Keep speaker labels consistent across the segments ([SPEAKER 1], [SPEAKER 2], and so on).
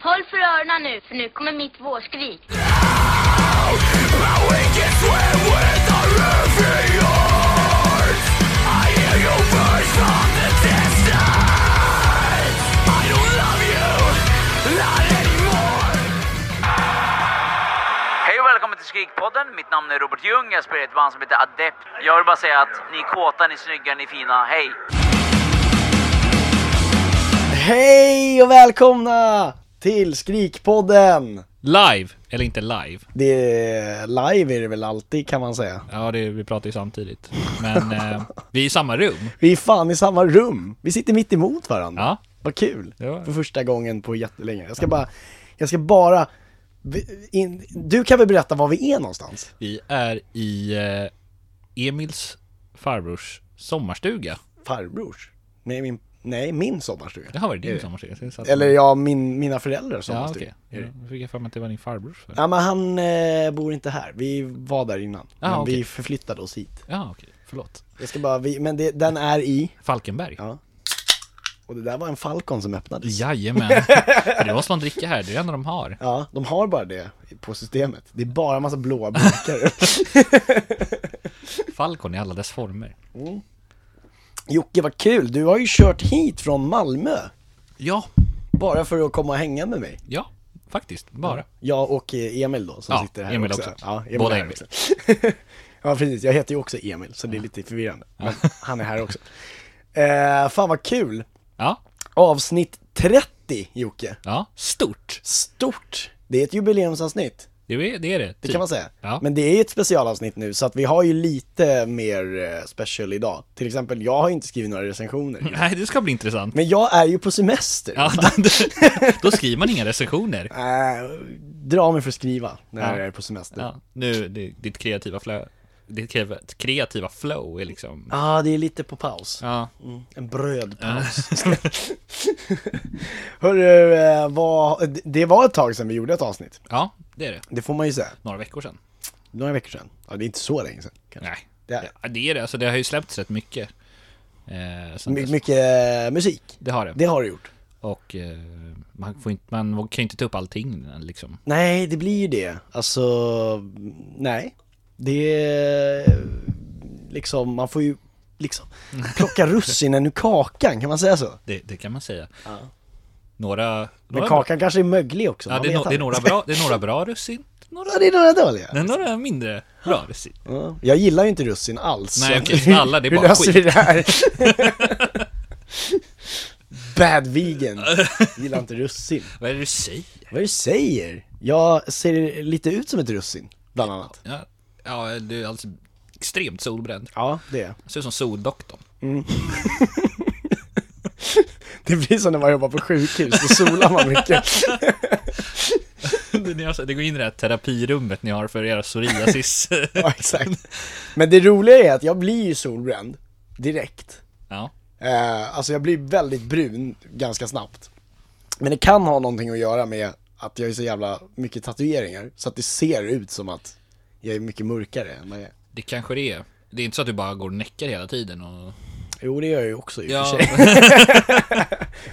[SPEAKER 1] Håll för öronen nu, för nu kommer mitt vårskrik.
[SPEAKER 2] Hej och välkommen till Skrikpodden. Mitt namn är Robert Ljung. Jag spelar i ett band som heter Adept. Jag vill bara säga att ni är kåta, ni är snygga, ni är fina. Hej!
[SPEAKER 3] Hej och välkomna till Skrikpodden!
[SPEAKER 4] Live, eller inte live.
[SPEAKER 3] Det är live är det väl alltid kan man säga.
[SPEAKER 4] Ja, det, vi pratar ju samtidigt. Men eh, vi är i samma rum.
[SPEAKER 3] Vi är fan i samma rum. Vi sitter mitt emot varandra.
[SPEAKER 4] Ja.
[SPEAKER 3] Vad kul!
[SPEAKER 4] Ja.
[SPEAKER 3] För första gången på jättelänge. Jag ska bara, jag ska bara in, du kan väl berätta var vi är någonstans?
[SPEAKER 4] Vi är i eh, Emils farbrors sommarstuga.
[SPEAKER 3] Farbrors? Nej, min, nej, min sommarstuga.
[SPEAKER 4] Det har varit din sommarstuga. så det satt-
[SPEAKER 3] Eller ja, min, mina föräldrars
[SPEAKER 4] ja,
[SPEAKER 3] sommarstuga.
[SPEAKER 4] okej. Ja, då fick jag för mig att det var din farbrors. För.
[SPEAKER 3] Ja men han eh, bor inte här, vi var där innan.
[SPEAKER 4] Ah,
[SPEAKER 3] men vi
[SPEAKER 4] okej.
[SPEAKER 3] förflyttade oss hit.
[SPEAKER 4] Ja, okej. Förlåt.
[SPEAKER 3] Jag ska bara, vi, men det, den är i
[SPEAKER 4] Falkenberg.
[SPEAKER 3] Ja. Och det där var en Falcon som öppnades.
[SPEAKER 4] Jajamän. För det måste man dricka här, det är det enda de har.
[SPEAKER 3] Ja, de har bara det på systemet. Det är bara en massa blåa burkar.
[SPEAKER 4] Falcon i alla dess former.
[SPEAKER 3] Jocke, vad kul! Du har ju kört hit från Malmö.
[SPEAKER 4] Ja,
[SPEAKER 3] Bara för att komma och hänga med mig.
[SPEAKER 4] ja. Faktiskt, bara.
[SPEAKER 3] Jag och eh, Emil då, som
[SPEAKER 4] Ja,
[SPEAKER 3] sitter här
[SPEAKER 4] Emil
[SPEAKER 3] också.
[SPEAKER 4] också.
[SPEAKER 3] Ja, Emil
[SPEAKER 4] Båda
[SPEAKER 3] är här
[SPEAKER 4] Emil.
[SPEAKER 3] också. ja, precis. Jag heter ju också Emil, så det är lite förvirrande. Men han är här också. Eh, fan vad kul!
[SPEAKER 4] Ja,
[SPEAKER 3] Avsnitt 30, Jocke.
[SPEAKER 4] ja. Stort.
[SPEAKER 3] Stort! Det är ett jubileumsavsnitt.
[SPEAKER 4] Det är det. Är det,
[SPEAKER 3] Det kan man säga.
[SPEAKER 4] Typ. Ja.
[SPEAKER 3] Men det är ju ett specialavsnitt nu, så att vi har ju lite mer eh, special idag. Till exempel, jag har ju inte skrivit några recensioner.
[SPEAKER 4] Typ. Nej, det ska bli intressant.
[SPEAKER 3] Men jag är ju på semester.
[SPEAKER 4] Mm. Ja, då, då skriver man inga recensioner.
[SPEAKER 3] Äh, dra mig för att skriva när
[SPEAKER 4] Ja.
[SPEAKER 3] jag är på semester. Ja,
[SPEAKER 4] Ja, nu, det, ditt kreativa flow, ditt kre- kreativa flow är liksom
[SPEAKER 3] ah, det är lite på paus. Mm.
[SPEAKER 4] Ja,
[SPEAKER 3] En brödpaus. Hörru, eh, vad, det- det var ett tag sedan vi gjorde ett avsnitt.
[SPEAKER 4] ja det är det.
[SPEAKER 3] Det får man ju säga.
[SPEAKER 4] Några veckor sedan.
[SPEAKER 3] Några veckor sedan. Ja, det är inte så länge sedan. kanske.
[SPEAKER 4] Nej,
[SPEAKER 3] Det är-
[SPEAKER 4] ja, det är det. Alltså, det har ju släppts rätt mycket. Eh, sen
[SPEAKER 3] My,
[SPEAKER 4] dess.
[SPEAKER 3] mycket eh, musik.
[SPEAKER 4] det har det.
[SPEAKER 3] Det har du gjort.
[SPEAKER 4] Och eh, man, får inte, man kan ju inte ta upp allting liksom.
[SPEAKER 3] Nej, det blir ju det. Alltså, nej. Det är liksom, man får ju liksom plocka russinen ur kakan, kan man säga så?
[SPEAKER 4] Det, det kan man säga. Några...
[SPEAKER 3] Men
[SPEAKER 4] några
[SPEAKER 3] kakan kanske är möglig också,
[SPEAKER 4] ja,
[SPEAKER 3] man
[SPEAKER 4] det, är
[SPEAKER 3] vet
[SPEAKER 4] no, det, är
[SPEAKER 3] aldrig.
[SPEAKER 4] några bra, det är några bra russin.
[SPEAKER 3] Ja, det är några dåliga.
[SPEAKER 4] Det är några mindre bra russin.
[SPEAKER 3] Ja. Jag gillar ju inte russin alls.
[SPEAKER 4] Nej,
[SPEAKER 3] så
[SPEAKER 4] okej, för alla, det är
[SPEAKER 3] hur
[SPEAKER 4] bara
[SPEAKER 3] löser
[SPEAKER 4] skit.
[SPEAKER 3] vi det här? Bad vegan, gillar inte russin.
[SPEAKER 4] Vad är det du säger?
[SPEAKER 3] Vad är det du säger? Jag ser lite ut som ett russin, bland annat.
[SPEAKER 4] Ja, ja du är alltså extremt solbränd.
[SPEAKER 3] Ja, det är jag.
[SPEAKER 4] Ser ut som soldoktorn.
[SPEAKER 3] Det blir som när man jobbar på sjukhus, då solar man mycket.
[SPEAKER 4] Det, ni har, så- det går in i det här terapirummet ni har för era psoriasis.
[SPEAKER 3] Ja, exakt. Men det roliga är att jag blir ju solbränd direkt.
[SPEAKER 4] ja.
[SPEAKER 3] Eh, alltså jag blir väldigt brun ganska snabbt. Men det kan ha någonting att göra med att jag har så jävla mycket tatueringar, så att det ser ut som att jag är mycket mörkare än vad jag är.
[SPEAKER 4] Det kanske det är. Det är inte så att du bara går och näckar hela tiden och...
[SPEAKER 3] Jo, det gör jag ju också i och
[SPEAKER 4] Ja.
[SPEAKER 3] för sig.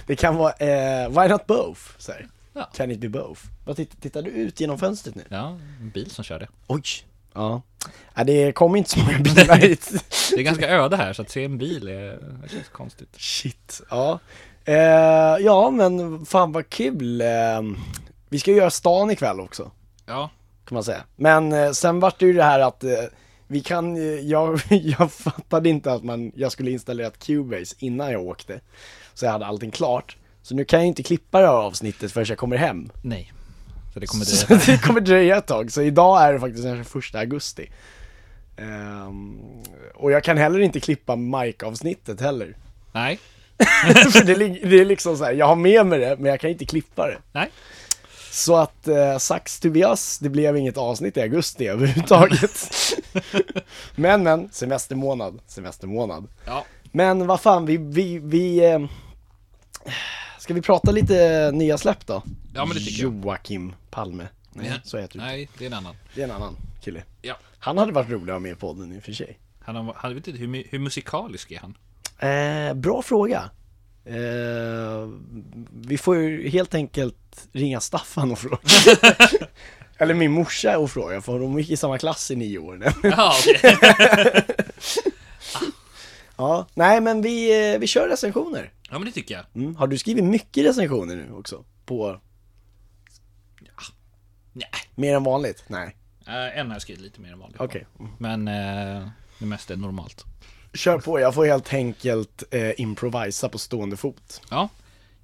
[SPEAKER 3] Det kan vara, eh, why not both? Så här.
[SPEAKER 4] Ja.
[SPEAKER 3] Can it be both? Vad titt- tittar du ut genom fönstret nu?
[SPEAKER 4] ja, en bil som kör det.
[SPEAKER 3] Oj! Ja. ja det kommer inte så många bilar hit.
[SPEAKER 4] Det är ganska öde här, så att se en bil är... Det känns konstigt.
[SPEAKER 3] Shit, ja. Eh, ja, men fan vad kul. Eh, vi ska ju göra stan ikväll också,
[SPEAKER 4] Ja.
[SPEAKER 3] kan man säga. Men eh, sen vart det ju det här att eh, vi kan, eh, jag, jag fattade inte att man, jag skulle installera ett Cubase innan jag åkte. Så jag hade allting klart. Så nu kan jag ju inte klippa det här avsnittet förrän jag kommer hem.
[SPEAKER 4] Nej. Så det kommer
[SPEAKER 3] Så
[SPEAKER 4] dröja.
[SPEAKER 3] det kommer dröja ett tag, så idag är det faktiskt den 21 augusti. Ehm, och jag kan heller inte klippa Mike-avsnittet heller.
[SPEAKER 4] Nej.
[SPEAKER 3] För det, lig- det är liksom så här, jag har med mig det, men jag kan inte klippa det.
[SPEAKER 4] Nej.
[SPEAKER 3] Så att eh, Sax Tobias, det blev inget avsnitt i augusti överhuvudtaget. men men, semestermånad, semestermånad.
[SPEAKER 4] Ja.
[SPEAKER 3] Men vad fan, vi, vi, vi eh, Ska vi prata lite nya släpp då?
[SPEAKER 4] Ja, men det tycker jag.
[SPEAKER 3] Joakim Palme. Nej, så heter du.
[SPEAKER 4] Nej, det är en annan.
[SPEAKER 3] Det är en annan kille.
[SPEAKER 4] Ja.
[SPEAKER 3] Han hade varit rolig att ha med i podden i och för sig.
[SPEAKER 4] Han har, han vet inte, hur, mu- hur musikalisk är han?
[SPEAKER 3] Eh, bra fråga. Eh, vi får ju helt enkelt att ringa Staffan och fråga. Eller min morsa och fråga, för de gick i samma klass i nio år.
[SPEAKER 4] Ja, okej.
[SPEAKER 3] ja, nej men vi, eh, vi kör recensioner.
[SPEAKER 4] ja, men det tycker jag.
[SPEAKER 3] Mm. Har du skrivit mycket recensioner nu också? På
[SPEAKER 4] Nej,
[SPEAKER 3] mer än vanligt? Nej,
[SPEAKER 4] eh, en har jag skrivit lite mer än vanligt.
[SPEAKER 3] okej.
[SPEAKER 4] Men eh, det mesta är normalt.
[SPEAKER 3] Kör på, jag får helt enkelt eh, improvisa på stående fot.
[SPEAKER 4] Ja,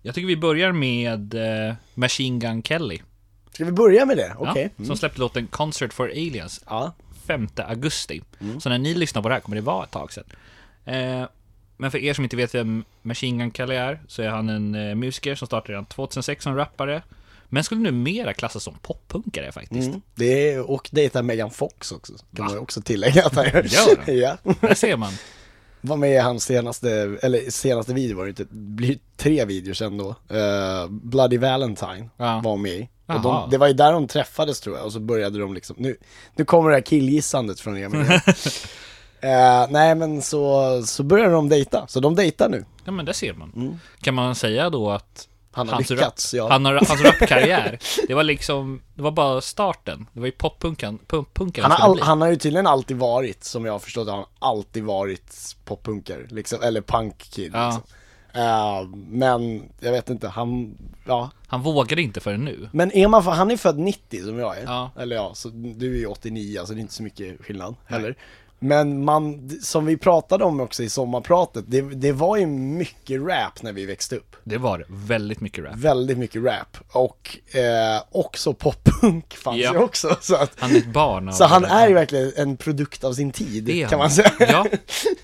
[SPEAKER 4] jag tycker vi börjar med eh, Machine Gun Kelly.
[SPEAKER 3] Ska vi börja med det? Okej. Mm.
[SPEAKER 4] Ja, som släppte låten Concert for Aliens
[SPEAKER 3] Ja.
[SPEAKER 4] 5 augusti.
[SPEAKER 3] Mm.
[SPEAKER 4] Så när ni lyssnar på det här kommer det vara ett tag sedan. Eh, men för er som inte vet vem Machine Gun Kelly är, så är han en eh, musiker som startade redan 2006 som rappare. Men skulle numera klassas som poppunkare faktiskt.
[SPEAKER 3] Mm. Det är, och dejtar Megan Fox också, kan man ju också tillägga att han gör.
[SPEAKER 4] Gör han?
[SPEAKER 3] ja.
[SPEAKER 4] Där ser man.
[SPEAKER 3] Var med i hans senaste, eller senaste video var det inte, det blir tre videor sen då. Eh, Bloody Valentine
[SPEAKER 4] Ja.
[SPEAKER 3] var med i. Och
[SPEAKER 4] Jaha.
[SPEAKER 3] de, det var ju där de träffades tror jag, och så började de liksom, nu, nu kommer det här killgissandet från Emil. uh, nej men så, så började de dejta, så de dejtar nu.
[SPEAKER 4] Ja, men där ser man. Kan man säga då att
[SPEAKER 3] Mm. Han har
[SPEAKER 4] hans
[SPEAKER 3] lyckats,
[SPEAKER 4] rap-
[SPEAKER 3] ja.
[SPEAKER 4] han har, hans rapkarriär, det var liksom, det var bara starten. Det var ju poppunkan, punk, punkan
[SPEAKER 3] Han har,
[SPEAKER 4] skulle
[SPEAKER 3] all,
[SPEAKER 4] bli.
[SPEAKER 3] han har ju tydligen alltid varit, som jag har förstått det, han har alltid varit poppunkare, liksom, eller punkkid
[SPEAKER 4] Ja.
[SPEAKER 3] liksom. Eh, men jag vet inte, han, ja.
[SPEAKER 4] Han vågade inte förrän nu.
[SPEAKER 3] Men är man, han är född 90 som jag är,
[SPEAKER 4] Ja.
[SPEAKER 3] eller ja, så du är ju 89, alltså det är inte så mycket skillnad heller. Men man, som vi pratade om också i sommarpratet, det, det var ju mycket rap när vi växte upp.
[SPEAKER 4] Det var väldigt mycket rap.
[SPEAKER 3] Väldigt mycket rap och eh, också poppunk fanns
[SPEAKER 4] Ja.
[SPEAKER 3] ju också. Så, att,
[SPEAKER 4] Han är ett barn av
[SPEAKER 3] så han är ju verkligen en produkt av sin tid,
[SPEAKER 4] Det är
[SPEAKER 3] kan
[SPEAKER 4] han.
[SPEAKER 3] man säga.
[SPEAKER 4] Ja,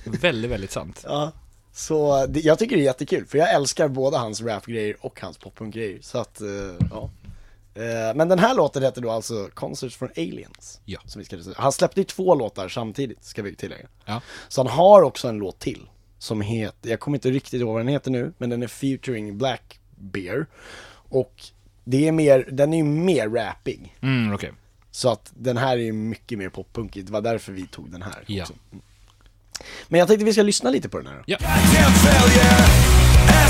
[SPEAKER 4] väldigt, väldigt sant.
[SPEAKER 3] Ja, så det, jag tycker det är jättekul för jag älskar både hans rapgrejer och hans poppunkgrejer. Så att, eh, ja. Eh, men den här låten heter då alltså Concerts from Aliens.
[SPEAKER 4] Ja.
[SPEAKER 3] Som vi ska säga. Han släppte ju två låtar samtidigt, ska vi tillägga.
[SPEAKER 4] Ja.
[SPEAKER 3] Så han har också en låt till. Som heter, jag kommer inte riktigt ihåg vad den heter nu, men den är featuring Black Bear. Och det är mer, den är ju mer rappig.
[SPEAKER 4] Mm, okej.
[SPEAKER 3] Så att den här är ju mycket mer poppunkig, det var därför vi tog den här.
[SPEAKER 4] Ja.
[SPEAKER 3] också. Men jag tänkte vi ska lyssna lite på den här. då.
[SPEAKER 5] Goddamn failure.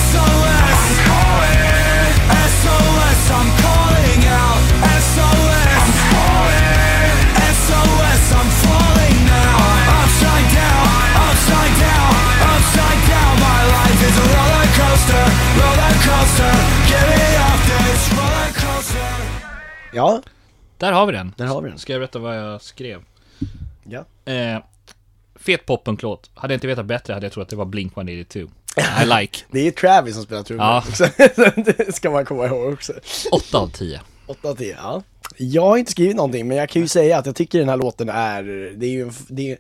[SPEAKER 5] SOS. I'm calling. SOS. I'm calling out. SOS. I'm calling. SOS. I'm falling now. Upside down. Upside down. Upside down. My life is a roller coaster. Roller coaster. Get me off this roller coaster.
[SPEAKER 3] Ja,
[SPEAKER 4] Där har vi den.
[SPEAKER 3] Där har vi den.
[SPEAKER 4] Ska jag berätta vad jag skrev?
[SPEAKER 3] ja.
[SPEAKER 4] Eh, fet poppunklåt. Hade jag inte vetat bättre hade jag trott att det var Blink-182. I like.
[SPEAKER 3] Det är Travis som spelar trummor
[SPEAKER 4] Ja.
[SPEAKER 3] också. det ska man komma ihåg också.
[SPEAKER 4] 8 av 10.
[SPEAKER 3] 8 av 10, ja. Jag har inte skrivit någonting, men jag kan ju säga att jag tycker den här låten är, det är ju, en f- det är,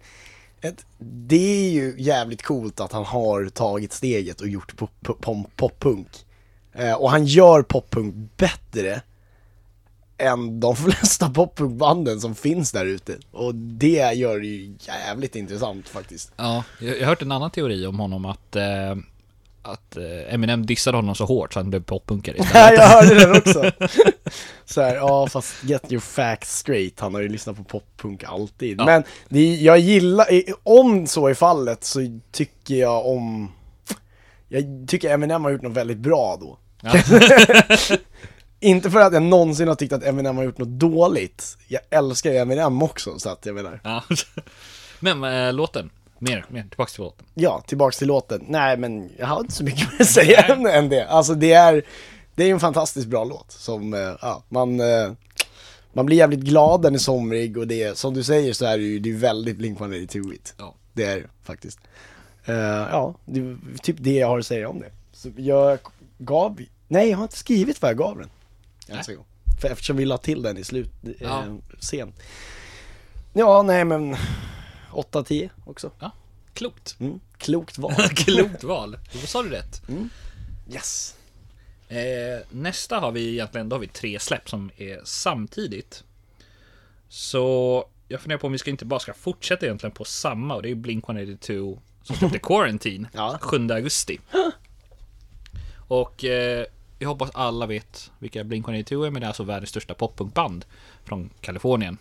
[SPEAKER 3] ett, det är ju jävligt coolt att han har tagit steget och gjort pop- pop- pop- poppunk. Eh, och han gör poppunk bättre än de flesta poppunkbanden som finns där ute. Och det gör det ju jävligt intressant faktiskt.
[SPEAKER 4] Ja, jag jag har hört en annan teori om honom att, eh, att eh, Eminem dissade honom så hårt så han blev poppunkare istället.
[SPEAKER 3] Ja, jag hörde den också. Så här, ja fast get your facts straight, han har ju lyssnat på poppunk alltid. Men det, är- jag gillar, i- om så är fallet så tycker jag om, jag tycker Eminem har gjort något väldigt bra då. Inte för att jag någonsin har tyckt att Eminem har gjort något dåligt. Jag älskar ju Eminem också så att jag menar.
[SPEAKER 4] Ja. Men eh, låten. Mer, mer. Tillbaks till låten.
[SPEAKER 3] Ja, tillbaks till låten. Nej men jag har inte så mycket mer att säga än, än det. Alltså det är, det är ju en fantastiskt bra låt som, eh, ja, man, eh, man blir jävligt glad, den är somrig och det är, som du säger så är det ju, det är väldigt Blink-182-igt.
[SPEAKER 4] Ja.
[SPEAKER 3] Det är det faktiskt. Eh, ja, det är typ det jag har att säga om det. Så jag gav, nej jag har inte skrivit vad jag gav den. Ens en gång. För eftersom vi la till den i slut, eh,
[SPEAKER 4] Ja.
[SPEAKER 3] sent. Ja, nej men 8-10 också.
[SPEAKER 4] Ja. Klokt.
[SPEAKER 3] Mm, klokt val.
[SPEAKER 4] Klokt val. Då sa du rätt.
[SPEAKER 3] Yes.
[SPEAKER 4] Eh, nästa har vi egentligen, då har vi tre släpp som är samtidigt. Så jag funderar på om vi ska inte bara ska fortsätta egentligen på samma och det är ju Blink-182 som släppte Quarantine
[SPEAKER 3] Ja.
[SPEAKER 4] 7 augusti. Och eh, jag hoppas alla vet vilka Blink-182 är, men det är alltså världens största poppunkband från Kalifornien.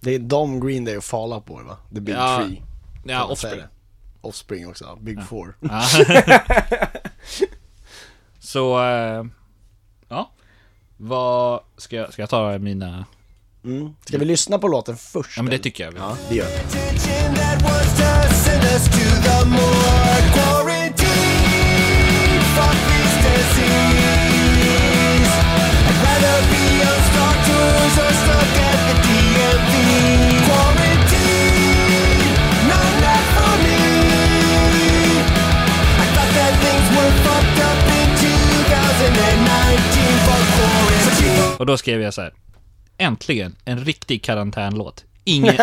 [SPEAKER 3] Det är de Green Day och Fall Out Boy va? The Big
[SPEAKER 4] Ja,
[SPEAKER 3] Three.
[SPEAKER 4] Ja,
[SPEAKER 3] Vad säger
[SPEAKER 4] Offspring.
[SPEAKER 3] det? Offspring också, ja. Big Four.
[SPEAKER 4] Så, eh, ja. Vad... Ska jag, ska jag ta mina...
[SPEAKER 3] Ska vi lyssna på låten först?
[SPEAKER 4] Ja men det
[SPEAKER 3] eller?
[SPEAKER 4] tycker jag. Ja.
[SPEAKER 3] det gör vi.
[SPEAKER 5] Attention that was to send us to the more quarantine. Fuck this disease. I'd rather be on Star Tours or stuck at the DMV. Quarantine, no, not for me. I thought that things were fucked up in 2019, but quarantine.
[SPEAKER 4] Och då skrev jag så här. Äntligen en riktig karantänlåt. Ingen,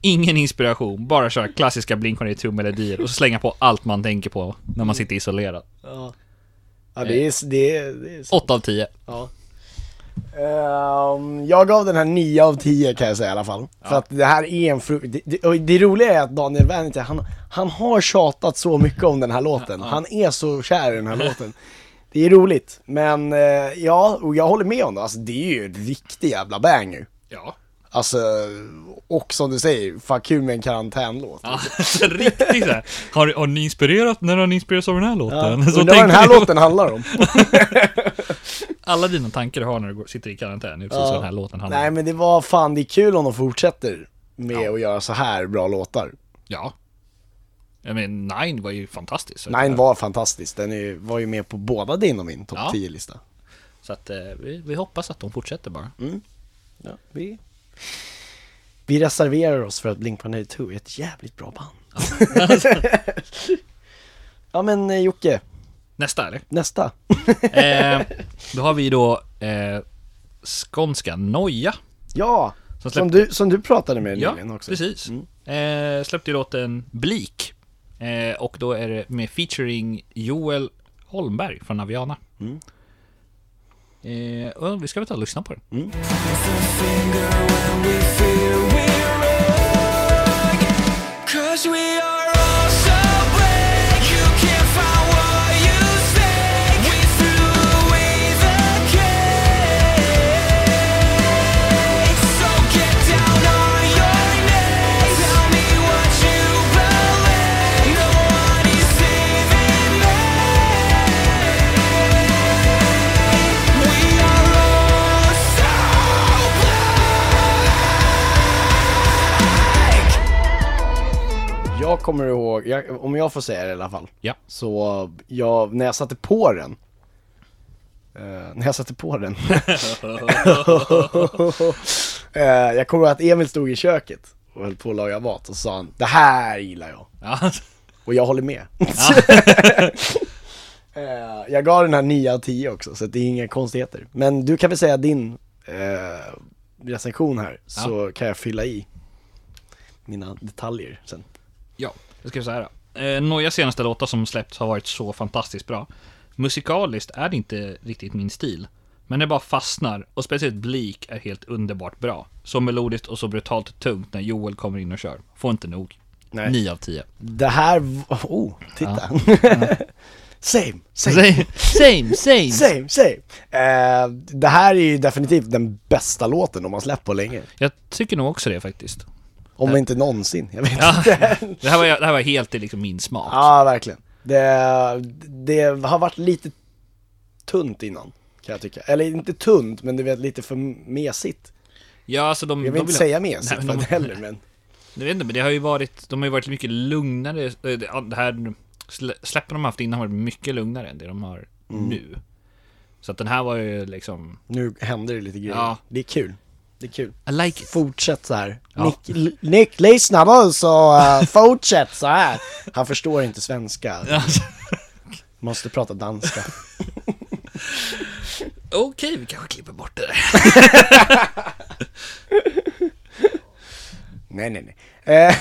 [SPEAKER 4] ingen inspiration, bara köra klassiska Blink-182-melodier och så slänga på allt man tänker på när man sitter isolerad.
[SPEAKER 3] Ja, det är... Det är, det är
[SPEAKER 4] 8 av 10.
[SPEAKER 3] ja. Ehm, jag gav den här 9 av 10 kan jag säga i alla fall. För att det här är en fru- det, det, och det roliga är att Daniel Vänite, han, han har tjatat så mycket om den här låten. Han är så kär i den här låten. Det är roligt, men eh, ja, och jag håller med om det. Alltså det är ju en riktig jävla banger.
[SPEAKER 4] Ja.
[SPEAKER 3] Alltså, och som du säger, fan kul med en karantänlåt.
[SPEAKER 4] Riktigt så här. Har, har ni inspirerat när har ni inspirerats av den här låten? Så
[SPEAKER 3] Undrar vad den här
[SPEAKER 4] tänker du-
[SPEAKER 3] låten handlar om.
[SPEAKER 4] Alla dina tankar du har när du går, sitter i karantän, är precis vad den här låten handlar
[SPEAKER 3] Nej
[SPEAKER 4] om.
[SPEAKER 3] men det var fan, det är kul om de fortsätter med att göra så här bra låtar.
[SPEAKER 4] Ja. Jag menar, Nine var ju fantastisk.
[SPEAKER 3] Nine var fantastisk, den är, var ju med på båda din och min topp
[SPEAKER 4] Ja.
[SPEAKER 3] 10-lista.
[SPEAKER 4] Så att eh, vi, vi hoppas att de fortsätter bara.
[SPEAKER 3] Mm. Ja, vi... vi reserverar oss för att Blink-182 är ett jävligt bra band. ja men eh, Jocke,
[SPEAKER 4] Nästa eller?
[SPEAKER 3] nästa.
[SPEAKER 4] Eh, då har vi då eh, skånska Noja.
[SPEAKER 3] Ja,
[SPEAKER 4] Som
[SPEAKER 3] som
[SPEAKER 4] släppte-
[SPEAKER 3] du, som du pratade med
[SPEAKER 4] Ja,
[SPEAKER 3] nyligen också. Mm.
[SPEAKER 4] precis. Eh, släppte ju låten Bleak. Eh, och då är det med featuring Joel Holmberg från Aviana.
[SPEAKER 3] Mm.
[SPEAKER 4] Eh, och vi ska väl ta och lyssna på den.
[SPEAKER 3] Mm.
[SPEAKER 5] Cause we are all so blank You can't find what you think We threw away the cake So get down on your knees Tell me what you believe No one is saving me We are all so blank
[SPEAKER 3] Jag kommer ihåg, jag, om jag får säga det i alla fall.
[SPEAKER 4] Ja.
[SPEAKER 3] Så jag, när jag satte på den eh, När jag satte på den eh, Jag kommer ihåg att Emil stod i köket och höll på att laga mat och så sa han Det här gillar jag
[SPEAKER 4] Ja,
[SPEAKER 3] Och jag håller med eh, Jag gav den här 9 av 10 också så att det är inga konstigheter Men du kan väl säga din eh, recension här så kan jag fylla i mina detaljer sen
[SPEAKER 4] ja. jag ska säga då. Eh, Nojas senaste låtar som släppts har varit så fantastiskt bra. Musikaliskt är det inte riktigt min stil. Men det bara fastnar och speciellt Bleak är helt underbart bra. Så melodiskt och så brutalt tungt när Joel kommer in och kör. Får inte nog.
[SPEAKER 3] Nej.
[SPEAKER 4] 9 av 10.
[SPEAKER 3] Det här, v- oh, titta. same, same,
[SPEAKER 4] Same, same, same.
[SPEAKER 3] same, same. Eh, det här är ju definitivt den bästa låten de har släppt på länge.
[SPEAKER 4] Jag tycker nog också det faktiskt.
[SPEAKER 3] Om inte någonsin, jag vet inte.
[SPEAKER 4] Ja, det, här var, det här var helt i liksom min smak.
[SPEAKER 3] Ja, verkligen. Det, det har varit lite tunt innan, kan jag tycka. Eller inte tunt, men du vet lite för mesigt.
[SPEAKER 4] Ja, alltså de,
[SPEAKER 3] Jag
[SPEAKER 4] de
[SPEAKER 3] vill inte
[SPEAKER 4] ha-
[SPEAKER 3] säga
[SPEAKER 4] Nej,
[SPEAKER 3] mesigt
[SPEAKER 4] men
[SPEAKER 3] för
[SPEAKER 4] de,
[SPEAKER 3] att heller, men
[SPEAKER 4] Jag vet inte, men det har ju varit, de har ju varit mycket lugnare. eh, det- ja, Det här slä- släppen de har haft innan har varit mycket lugnare än det de har nu. Så att den här var ju liksom...
[SPEAKER 3] nu händer det lite grejer.
[SPEAKER 4] Ja.
[SPEAKER 3] Det är kul. Det är kul.
[SPEAKER 4] I like it.
[SPEAKER 3] Fortsätt så här.
[SPEAKER 4] Ja.
[SPEAKER 3] Nick, L- Nick, lyssna nu så eh, fortsätt så här. Han förstår inte svenska.
[SPEAKER 4] Alltså,
[SPEAKER 3] Måste prata danska.
[SPEAKER 4] Okej, vi kanske klipper bort det där.
[SPEAKER 3] nej, nej, nej. Eh,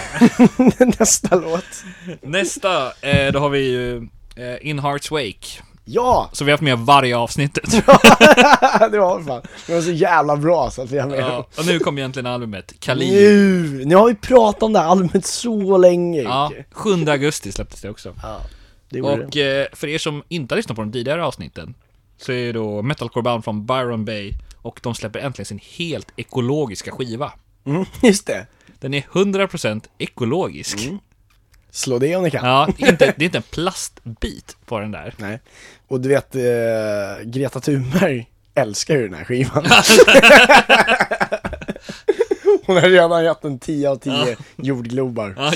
[SPEAKER 3] Nästa låt.
[SPEAKER 4] Nästa, eh, då har vi ju eh, In Hearts Wake.
[SPEAKER 3] Ja!
[SPEAKER 4] Så vi har haft med varje avsnittet.
[SPEAKER 3] det var fan. Det var så jävla bra så att vi har med dem.
[SPEAKER 4] ja, och nu kom egentligen albumet, Kali.
[SPEAKER 3] Nu! Nu har vi pratat om det här albumet så länge
[SPEAKER 4] Ja,
[SPEAKER 3] Jocke.
[SPEAKER 4] 7 augusti släpptes det också.
[SPEAKER 3] ja. Det gjorde det.
[SPEAKER 4] Och eh, för er som inte har lyssnat på de tidigare avsnitten så är ju då metalcore band från Byron Bay och de släpper äntligen sin helt ekologiska skiva.
[SPEAKER 3] Mm, just det.
[SPEAKER 4] Den är 100% ekologisk.
[SPEAKER 3] Mm. Slå det om ni kan.
[SPEAKER 4] Ja, inte, det är inte en plastbit på den där.
[SPEAKER 3] Nej. Och du vet, eh, Greta Thunberg älskar ju den här skivan. Hon har redan gett en 10 av 10 jordglobar.
[SPEAKER 4] Ja,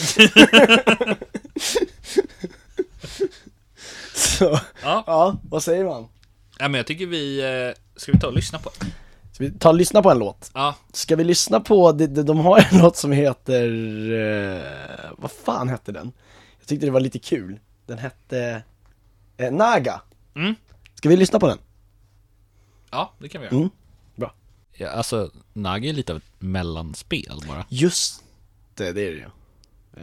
[SPEAKER 3] Så,
[SPEAKER 4] Ja.
[SPEAKER 3] ja, vad säger man?
[SPEAKER 4] ja, men jag tycker vi... eh, Ska vi ta och lyssna på den?
[SPEAKER 3] Ska vi ta och lyssna på en låt?
[SPEAKER 4] Ja,
[SPEAKER 3] Ska vi lyssna på, de, de, de har en låt som heter, eh, vad fan hette den? Jag tyckte det var lite kul. Den hette eh, Naga.
[SPEAKER 4] Mm.
[SPEAKER 3] Ska vi lyssna på den?
[SPEAKER 4] ja det kan vi göra.
[SPEAKER 3] Mm. Bra.
[SPEAKER 4] Ja, alltså, Nagi är lite av ett mellanspel bara.
[SPEAKER 3] Just det, det är det ju.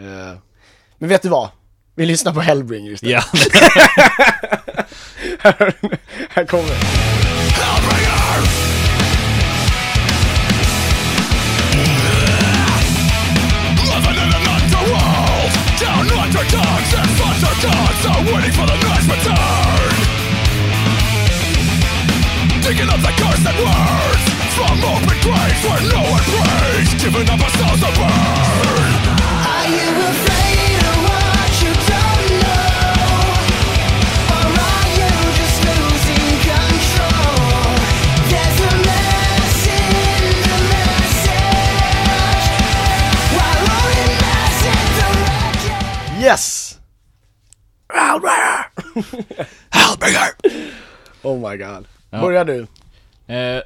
[SPEAKER 3] Eh, men vet du vad? Vi lyssnar på Hellbringer istället.
[SPEAKER 4] Ja,
[SPEAKER 3] Här kommer den.
[SPEAKER 5] Down underdogs and foster dogs are waiting for the night's return. Digging up the cursed words from open graves where no one prays, giving up ourselves to burn.
[SPEAKER 6] Are you afraid of what you don't know? Or are you just losing control? There's a mess in the message. Why won't it message the record?
[SPEAKER 3] Yes! Oh my god. Börjar du?
[SPEAKER 4] Eh,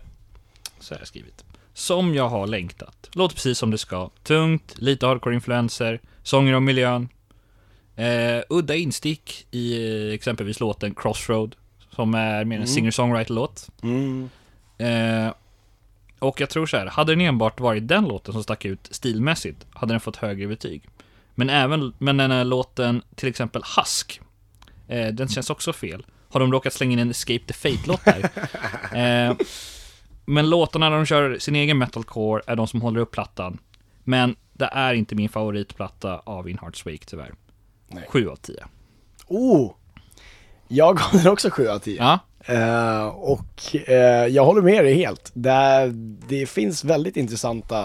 [SPEAKER 4] så har jag skrivit. Som jag har längtat. Låter precis som det ska. Tungt, lite hardcore-influenser, sånger om miljön. Eh, udda instick i eh, exempelvis låten Crossroad, som är mer en singer-songwriter-låt. Eh, och jag tror så här, hade den enbart varit den låten som stack ut stilmässigt, hade den fått högre betyg. Men även, men den här låten, till exempel Husk, eh, den känns också fel. Har de råkat slänga in en Escape the Fate-låt där? Eh, men låtarna när de kör sin egen metalcore är de som håller upp plattan. Men det är inte min favoritplatta av In Hearts Wake tyvärr.
[SPEAKER 3] Nej.
[SPEAKER 4] 7 av 10.
[SPEAKER 3] Oh! Jag gav den också 7 av 10.
[SPEAKER 4] Ja,
[SPEAKER 3] Eh, och eh, jag håller med dig helt. Det, det finns väldigt intressanta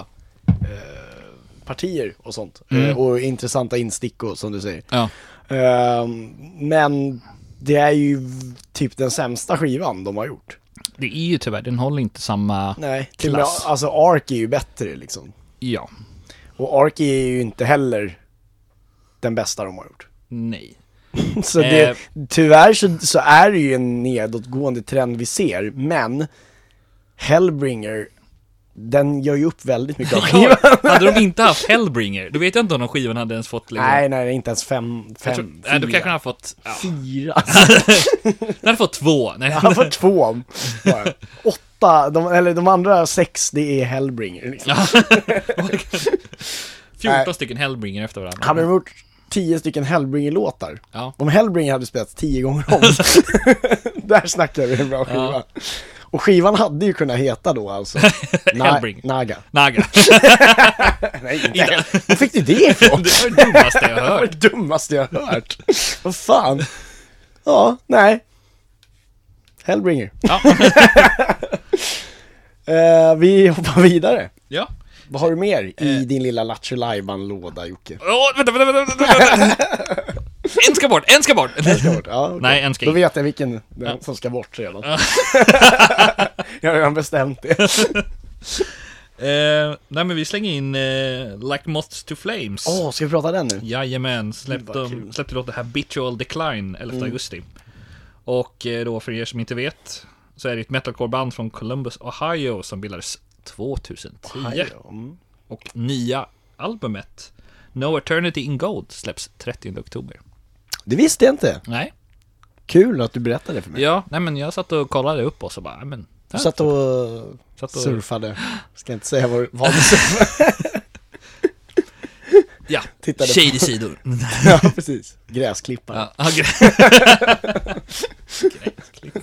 [SPEAKER 3] eh, partier och sånt. Eh, och intressanta instick och som du säger.
[SPEAKER 4] ja,
[SPEAKER 3] Eh, men det är ju typ den sämsta skivan de har gjort.
[SPEAKER 4] det är ju tyvärr, den håller inte samma...
[SPEAKER 3] Nej, till och med,
[SPEAKER 4] Klass.
[SPEAKER 3] alltså Ark är ju bättre liksom.
[SPEAKER 4] Ja,
[SPEAKER 3] Och Ark är ju inte heller den bästa de har gjort.
[SPEAKER 4] nej.
[SPEAKER 3] Så det,
[SPEAKER 4] Eh.
[SPEAKER 3] tyvärr så, så är det ju en nedåtgående trend vi ser, men Hellbringer, den gör ju upp väldigt mycket av skivan.
[SPEAKER 4] hade de inte haft Hellbringer, då vet jag inte om de skivan hade ens fått liksom...
[SPEAKER 3] nej, nej, det är inte ens fem,
[SPEAKER 4] jag tror,
[SPEAKER 3] fem,
[SPEAKER 4] nej, då
[SPEAKER 3] fyra.
[SPEAKER 4] kanske den hade fått... Ja,
[SPEAKER 3] Fyra, alltså,
[SPEAKER 4] den hade fått två. Nej,
[SPEAKER 3] han får två bara. Åtta, de, eller de andra sex, det är Hellbringer liksom.
[SPEAKER 4] 14
[SPEAKER 3] nej.
[SPEAKER 4] stycken Hellbringer efter varandra.
[SPEAKER 3] Hade de gjort tio stycken Hellbringer-låtar,
[SPEAKER 4] Ja.
[SPEAKER 3] om Hellbringer hade spelats tio gånger om, där snackar vi en bra skiva.
[SPEAKER 4] Ja.
[SPEAKER 3] Och skivan hade ju kunnat heta då alltså, Na-
[SPEAKER 4] Hellbringer.
[SPEAKER 3] Naga.
[SPEAKER 4] Naga.
[SPEAKER 3] Nej, inte. Var fick du det ifrån?
[SPEAKER 4] Det var det dummaste jag
[SPEAKER 3] Det var
[SPEAKER 4] hört.
[SPEAKER 3] det dummaste jag hört. Vad fan? Ja, nej. Hellbringer.
[SPEAKER 4] Ja.
[SPEAKER 3] Eh, vi hoppar vidare.
[SPEAKER 4] ja.
[SPEAKER 3] Vad har du mer
[SPEAKER 4] Eh.
[SPEAKER 3] i din lilla Lattjo Lajban-låda, Jocke?
[SPEAKER 4] Åh, vänta, vänta, vänta, vänta, vänta. En ska bort, en ska bort!
[SPEAKER 3] Ja, okej.
[SPEAKER 4] Nej, en ska
[SPEAKER 3] Då
[SPEAKER 4] in.
[SPEAKER 3] vet jag vilken den som ska bort redan. jag har redan bestämt det.
[SPEAKER 4] Eh, nej men vi slänger in eh, Like Moths to Flames.
[SPEAKER 3] Åh, ska vi prata den nu?
[SPEAKER 4] Jajamän, släppte,
[SPEAKER 3] vad
[SPEAKER 4] de,
[SPEAKER 3] kul.
[SPEAKER 4] släppte låten Habitual Decline 11 augusti. Och eh, då för er som inte vet så är det ett metalcoreband från Columbus, Ohio som bildades 2010.
[SPEAKER 3] Mm.
[SPEAKER 4] Och nya albumet No Eternity in Gold släpps 30 oktober.
[SPEAKER 3] Det visste jag inte.
[SPEAKER 4] Nej,
[SPEAKER 3] Kul att du berättade för mig.
[SPEAKER 4] ja, nej men jag satt och kollade upp och så bara, nej, men...
[SPEAKER 3] Du satt och
[SPEAKER 4] satt och-
[SPEAKER 3] surfade. Ska inte säga vad, vad du surfade.
[SPEAKER 4] Ja,
[SPEAKER 3] tittade på-
[SPEAKER 4] shady sidor.
[SPEAKER 3] ja, precis. Gräsklippare.
[SPEAKER 4] Ja, ah, gre- Gräsklipp.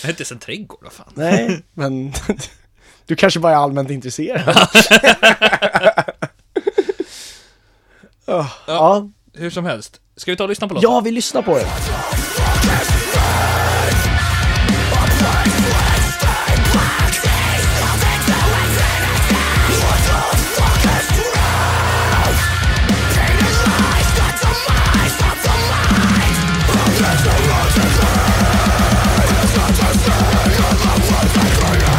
[SPEAKER 4] Jag är inte ens en trädgård, vad fan.
[SPEAKER 3] Nej, men du kanske bara är allmänt intresserad. Ja. ja.
[SPEAKER 4] Hur som helst, ska vi ta och lyssna på låten?
[SPEAKER 3] ja, vi lyssnar på det.
[SPEAKER 5] It's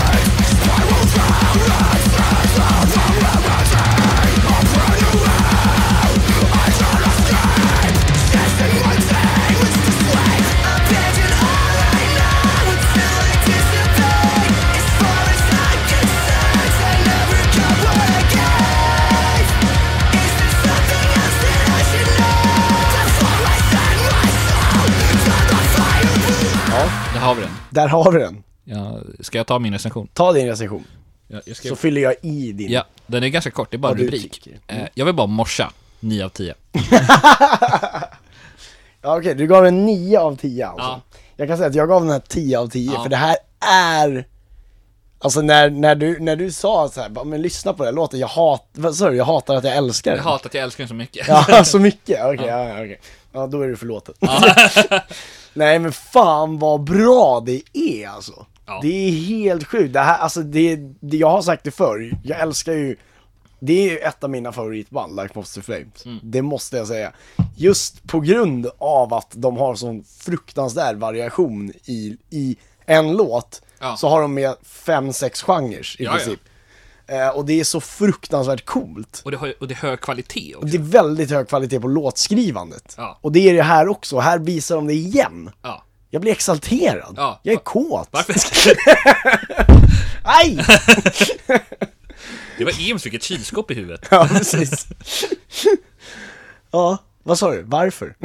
[SPEAKER 4] den.
[SPEAKER 3] Där har du den.
[SPEAKER 4] Ja, ska jag ta min recension?
[SPEAKER 3] Ta din recension,
[SPEAKER 4] Ja, jag
[SPEAKER 3] så fyller jag i din.
[SPEAKER 4] ja, den är ganska kort, det är bara
[SPEAKER 3] Vad
[SPEAKER 4] en
[SPEAKER 3] du
[SPEAKER 4] rubrik.
[SPEAKER 3] tycker.
[SPEAKER 4] Eh, jag vill bara morsa, 9 av 10.
[SPEAKER 3] Ja, Okej, du gav den 9 av 10 alltså.
[SPEAKER 4] Ja.
[SPEAKER 3] Jag kan säga att jag gav den här 10 av 10,
[SPEAKER 4] Ja.
[SPEAKER 3] för det här är... Alltså när, när, du, när du sa så här, bara, men lyssna på den här låten, jag, hat, vad sa du? jag hatar att jag älskar
[SPEAKER 4] Jag
[SPEAKER 3] den.
[SPEAKER 4] hatar att jag älskar den så mycket.
[SPEAKER 3] Ja, så mycket? Okej, ja. ja, okej. Ja, då är du förlåten. Nej men fan vad bra det är alltså.
[SPEAKER 4] Ja.
[SPEAKER 3] Det är helt sjukt. Det här, alltså det, det, jag har sagt det förr, jag älskar ju, det är ju ett av mina favoritband, Like Monster Flames.
[SPEAKER 4] Mm.
[SPEAKER 3] Det måste jag säga. Just på grund av att de har sån fruktansvärd variation i, i en låt,
[SPEAKER 4] Ja.
[SPEAKER 3] så har de med fem, sex genrer i
[SPEAKER 4] Ja, ja.
[SPEAKER 3] princip. Eh, och det är så fruktansvärt coolt.
[SPEAKER 4] Och det, har, och det är hög kvalitet också.
[SPEAKER 3] Det är väldigt hög kvalitet på låtskrivandet.
[SPEAKER 4] Ja.
[SPEAKER 3] Och det är det här också, här visar de det igen.
[SPEAKER 4] Ja.
[SPEAKER 3] Jag blir exalterad.
[SPEAKER 4] Ja.
[SPEAKER 3] Jag är kåt.
[SPEAKER 4] Varför?
[SPEAKER 3] Aj!
[SPEAKER 4] Det var Eames fick ett kylskåp i huvudet.
[SPEAKER 3] Ja, precis. ja, vad sa du? Varför?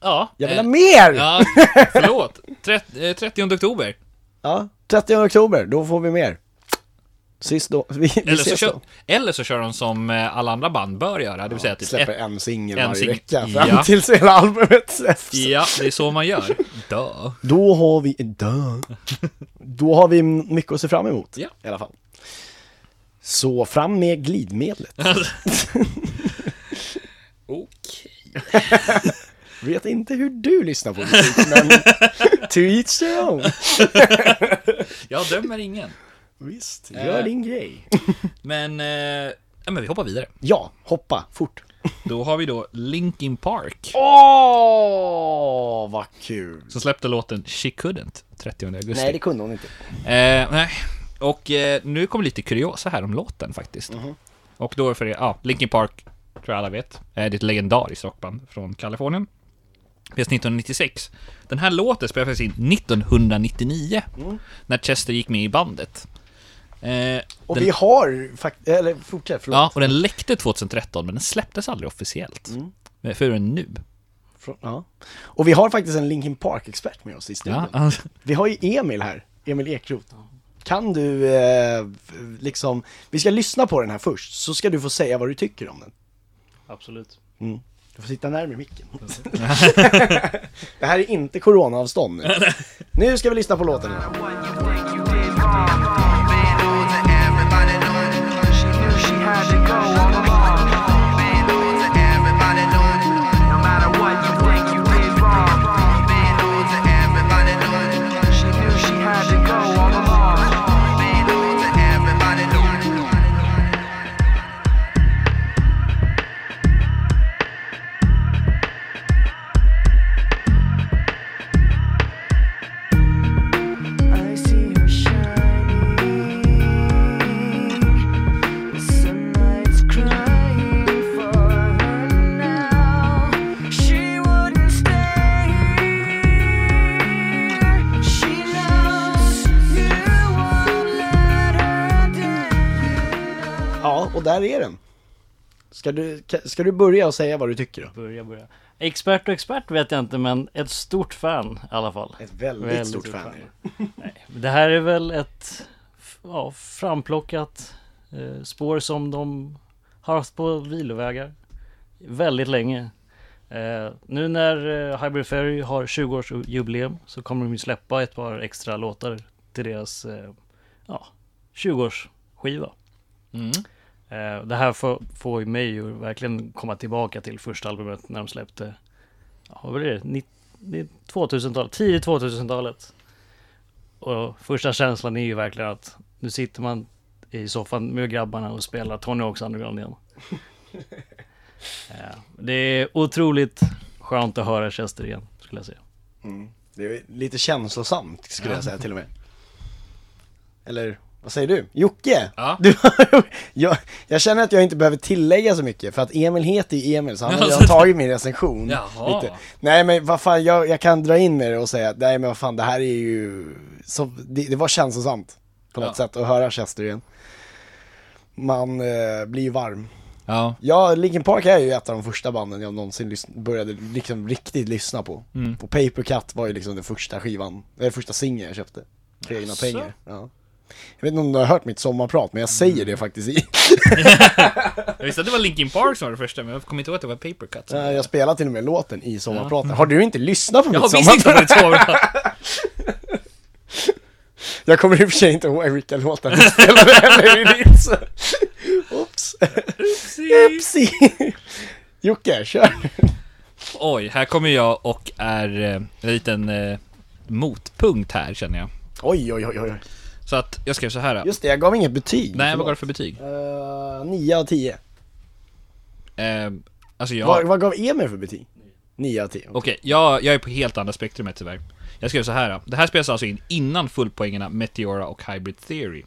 [SPEAKER 4] Ja.
[SPEAKER 3] Jag vill
[SPEAKER 4] eh,
[SPEAKER 3] ha mer! Ja.
[SPEAKER 4] Ja, förlåt. Trett- eh, 30 oktober.
[SPEAKER 3] 30 oktober, då får vi mer. Sist då. Vi, vi
[SPEAKER 4] Eller så,
[SPEAKER 3] ses
[SPEAKER 4] kör,
[SPEAKER 3] då.
[SPEAKER 4] eller så kör de som eh, alla andra band bör göra, det vill säga typ
[SPEAKER 3] Släpper
[SPEAKER 4] ett-
[SPEAKER 3] en singel
[SPEAKER 4] en
[SPEAKER 3] varje
[SPEAKER 4] sing-
[SPEAKER 3] vecka
[SPEAKER 4] Ja.
[SPEAKER 3] fram tills hela albumet släpps.
[SPEAKER 4] Ja, det är så man gör. Dö.
[SPEAKER 3] Då har vi, dö. då har vi mycket att se fram emot
[SPEAKER 4] Ja.
[SPEAKER 3] i alla fall. Så fram med glidmedlet.
[SPEAKER 4] Okej.
[SPEAKER 3] Vet inte hur du lyssnar på musik, men to each their own.
[SPEAKER 4] Jag dömer ingen.
[SPEAKER 3] Visst, gör
[SPEAKER 4] Eh.
[SPEAKER 3] din grej.
[SPEAKER 4] Men, eh, ja, men vi hoppar vidare.
[SPEAKER 3] Ja, hoppa fort.
[SPEAKER 4] Då har vi då Linkin Park,
[SPEAKER 3] Åh, vad kul.
[SPEAKER 4] som släppte låten She Couldn't 30 augusti.
[SPEAKER 3] Nej, det kunde hon inte.
[SPEAKER 4] Eh, nej. Och eh, nu kommer lite kuriosa här om låten faktiskt.
[SPEAKER 3] Mhm.
[SPEAKER 4] Och då är för det, ja, Linkin Park tror jag alla vet. Eh, det är ett legendariskt rockband från Kalifornien. Finns 1996. Den här låten spelades in 1999.
[SPEAKER 3] Mm.
[SPEAKER 4] När Chester gick med i bandet. Eh,
[SPEAKER 3] Och
[SPEAKER 4] den,
[SPEAKER 3] vi har faktiskt, eller fortsätt, förlåt.
[SPEAKER 4] ja, och den läckte 2013 men den släpptes aldrig officiellt. Mm. Förrän nu.
[SPEAKER 3] Frå- ja. Och vi har faktiskt en Linkin Park-expert med oss i studion.
[SPEAKER 4] Ja, alltså,
[SPEAKER 3] Vi har ju Emil här, Emil Ekroth. Kan du, eh, liksom, vi ska lyssna på den här först, så ska du få säga vad du tycker om den. Mm.
[SPEAKER 7] Absolut.
[SPEAKER 3] Du får sitta närmare micken. det här är inte coronaavstånd nu. Nu ska vi lyssna på låten. igen.
[SPEAKER 8] I see her shining. The sunlight's crying for her now. She wouldn't stay here. She knows you won't let her down.
[SPEAKER 3] Ja, och där är den. Ska du, ka- ska du börja och säga vad du tycker då?
[SPEAKER 7] Börja, börja. Expert och expert vet jag inte, men ett stort fan i alla fall.
[SPEAKER 3] Ett väldigt,
[SPEAKER 7] Väldigt
[SPEAKER 3] stort
[SPEAKER 7] stort
[SPEAKER 3] fan.
[SPEAKER 7] fan.
[SPEAKER 3] är det.
[SPEAKER 7] Det här är väl ett f- ja, framplockat eh, spår som de har haft på vilovägar väldigt länge. Eh, nu när eh, Hybrid Ferry har 20-årsjubileum så kommer de ju släppa ett par extra låtar till deras eh, ja, 20-årsskiva.
[SPEAKER 4] Mm.
[SPEAKER 7] Eh, det här får, får ju mig ju verkligen komma tillbaka till första albumet när de släppte, ja, vad blir det, Nitt- det är 2000-talet, tidigt 2000-talet. Och första känslan är ju verkligen att nu sitter man i soffan med grabbarna och spelar Tony Hawk's Underground igen. ja, det är otroligt skönt att höra Chester igen, skulle jag säga.
[SPEAKER 3] Det är lite känslosamt skulle jag säga till och med. Eller vad säger du? Jocke!
[SPEAKER 4] Ja.
[SPEAKER 3] Du, jag, jag känner att jag inte behöver tillägga så mycket för att Emil heter ju Emil så han har redan tagit min recension.
[SPEAKER 4] Jaha.
[SPEAKER 3] Nej men vad fan, jag, jag kan dra in med det och säga att nej men vad fan det här är ju, så, det, det var känslosamt på något
[SPEAKER 4] Ja.
[SPEAKER 3] sätt att höra Chester igen. Man eh, blir ju varm.
[SPEAKER 4] Ja,
[SPEAKER 3] Ja, Linkin Park är ju ett av de första banden jag någonsin lys- började liksom riktigt lyssna på.
[SPEAKER 4] Mm.
[SPEAKER 3] Och Paper Cut var ju liksom den första skivan, eller första singeln jag köpte. För egna
[SPEAKER 4] Jaså? Mm.
[SPEAKER 3] pengar. Ja. Jag vet inte om du har hört mitt sommarprat, men jag säger det faktiskt i.
[SPEAKER 4] jag visste att det var Linkin Park som var det första, men jag kommer inte ihåg att det var Paper Cut.
[SPEAKER 3] Ja, Jag spelar till och med låten i sommarpraten. Har du inte lyssnat på
[SPEAKER 4] Jag
[SPEAKER 3] mitt
[SPEAKER 4] har visst inte
[SPEAKER 3] sommarprat?
[SPEAKER 4] varit så bra.
[SPEAKER 3] Jag kommer i och för sig inte ihåg vilka låtar vi spelade heller i ditt. så- Oops. Upsi. Jocke, kör.
[SPEAKER 4] Oj, här kommer jag och är eh, en liten eh, motpunkt här känner jag.
[SPEAKER 3] Oj, oj, oj, oj.
[SPEAKER 4] Så att jag skrev så här. då.
[SPEAKER 3] Just det, jag gav inget betyg.
[SPEAKER 4] Nej, vad gav du för betyg?
[SPEAKER 3] för... 9 av 10.
[SPEAKER 4] Eh, alltså jag...
[SPEAKER 3] Vad, vad gav Emil för betyg? 9 av 10.
[SPEAKER 4] Okej, jag, jag är på helt andra spektrumet tyvärr. Jag skrev så här. då. Det här spelas alltså in innan fullpoängerna Meteora och Hybrid Theory.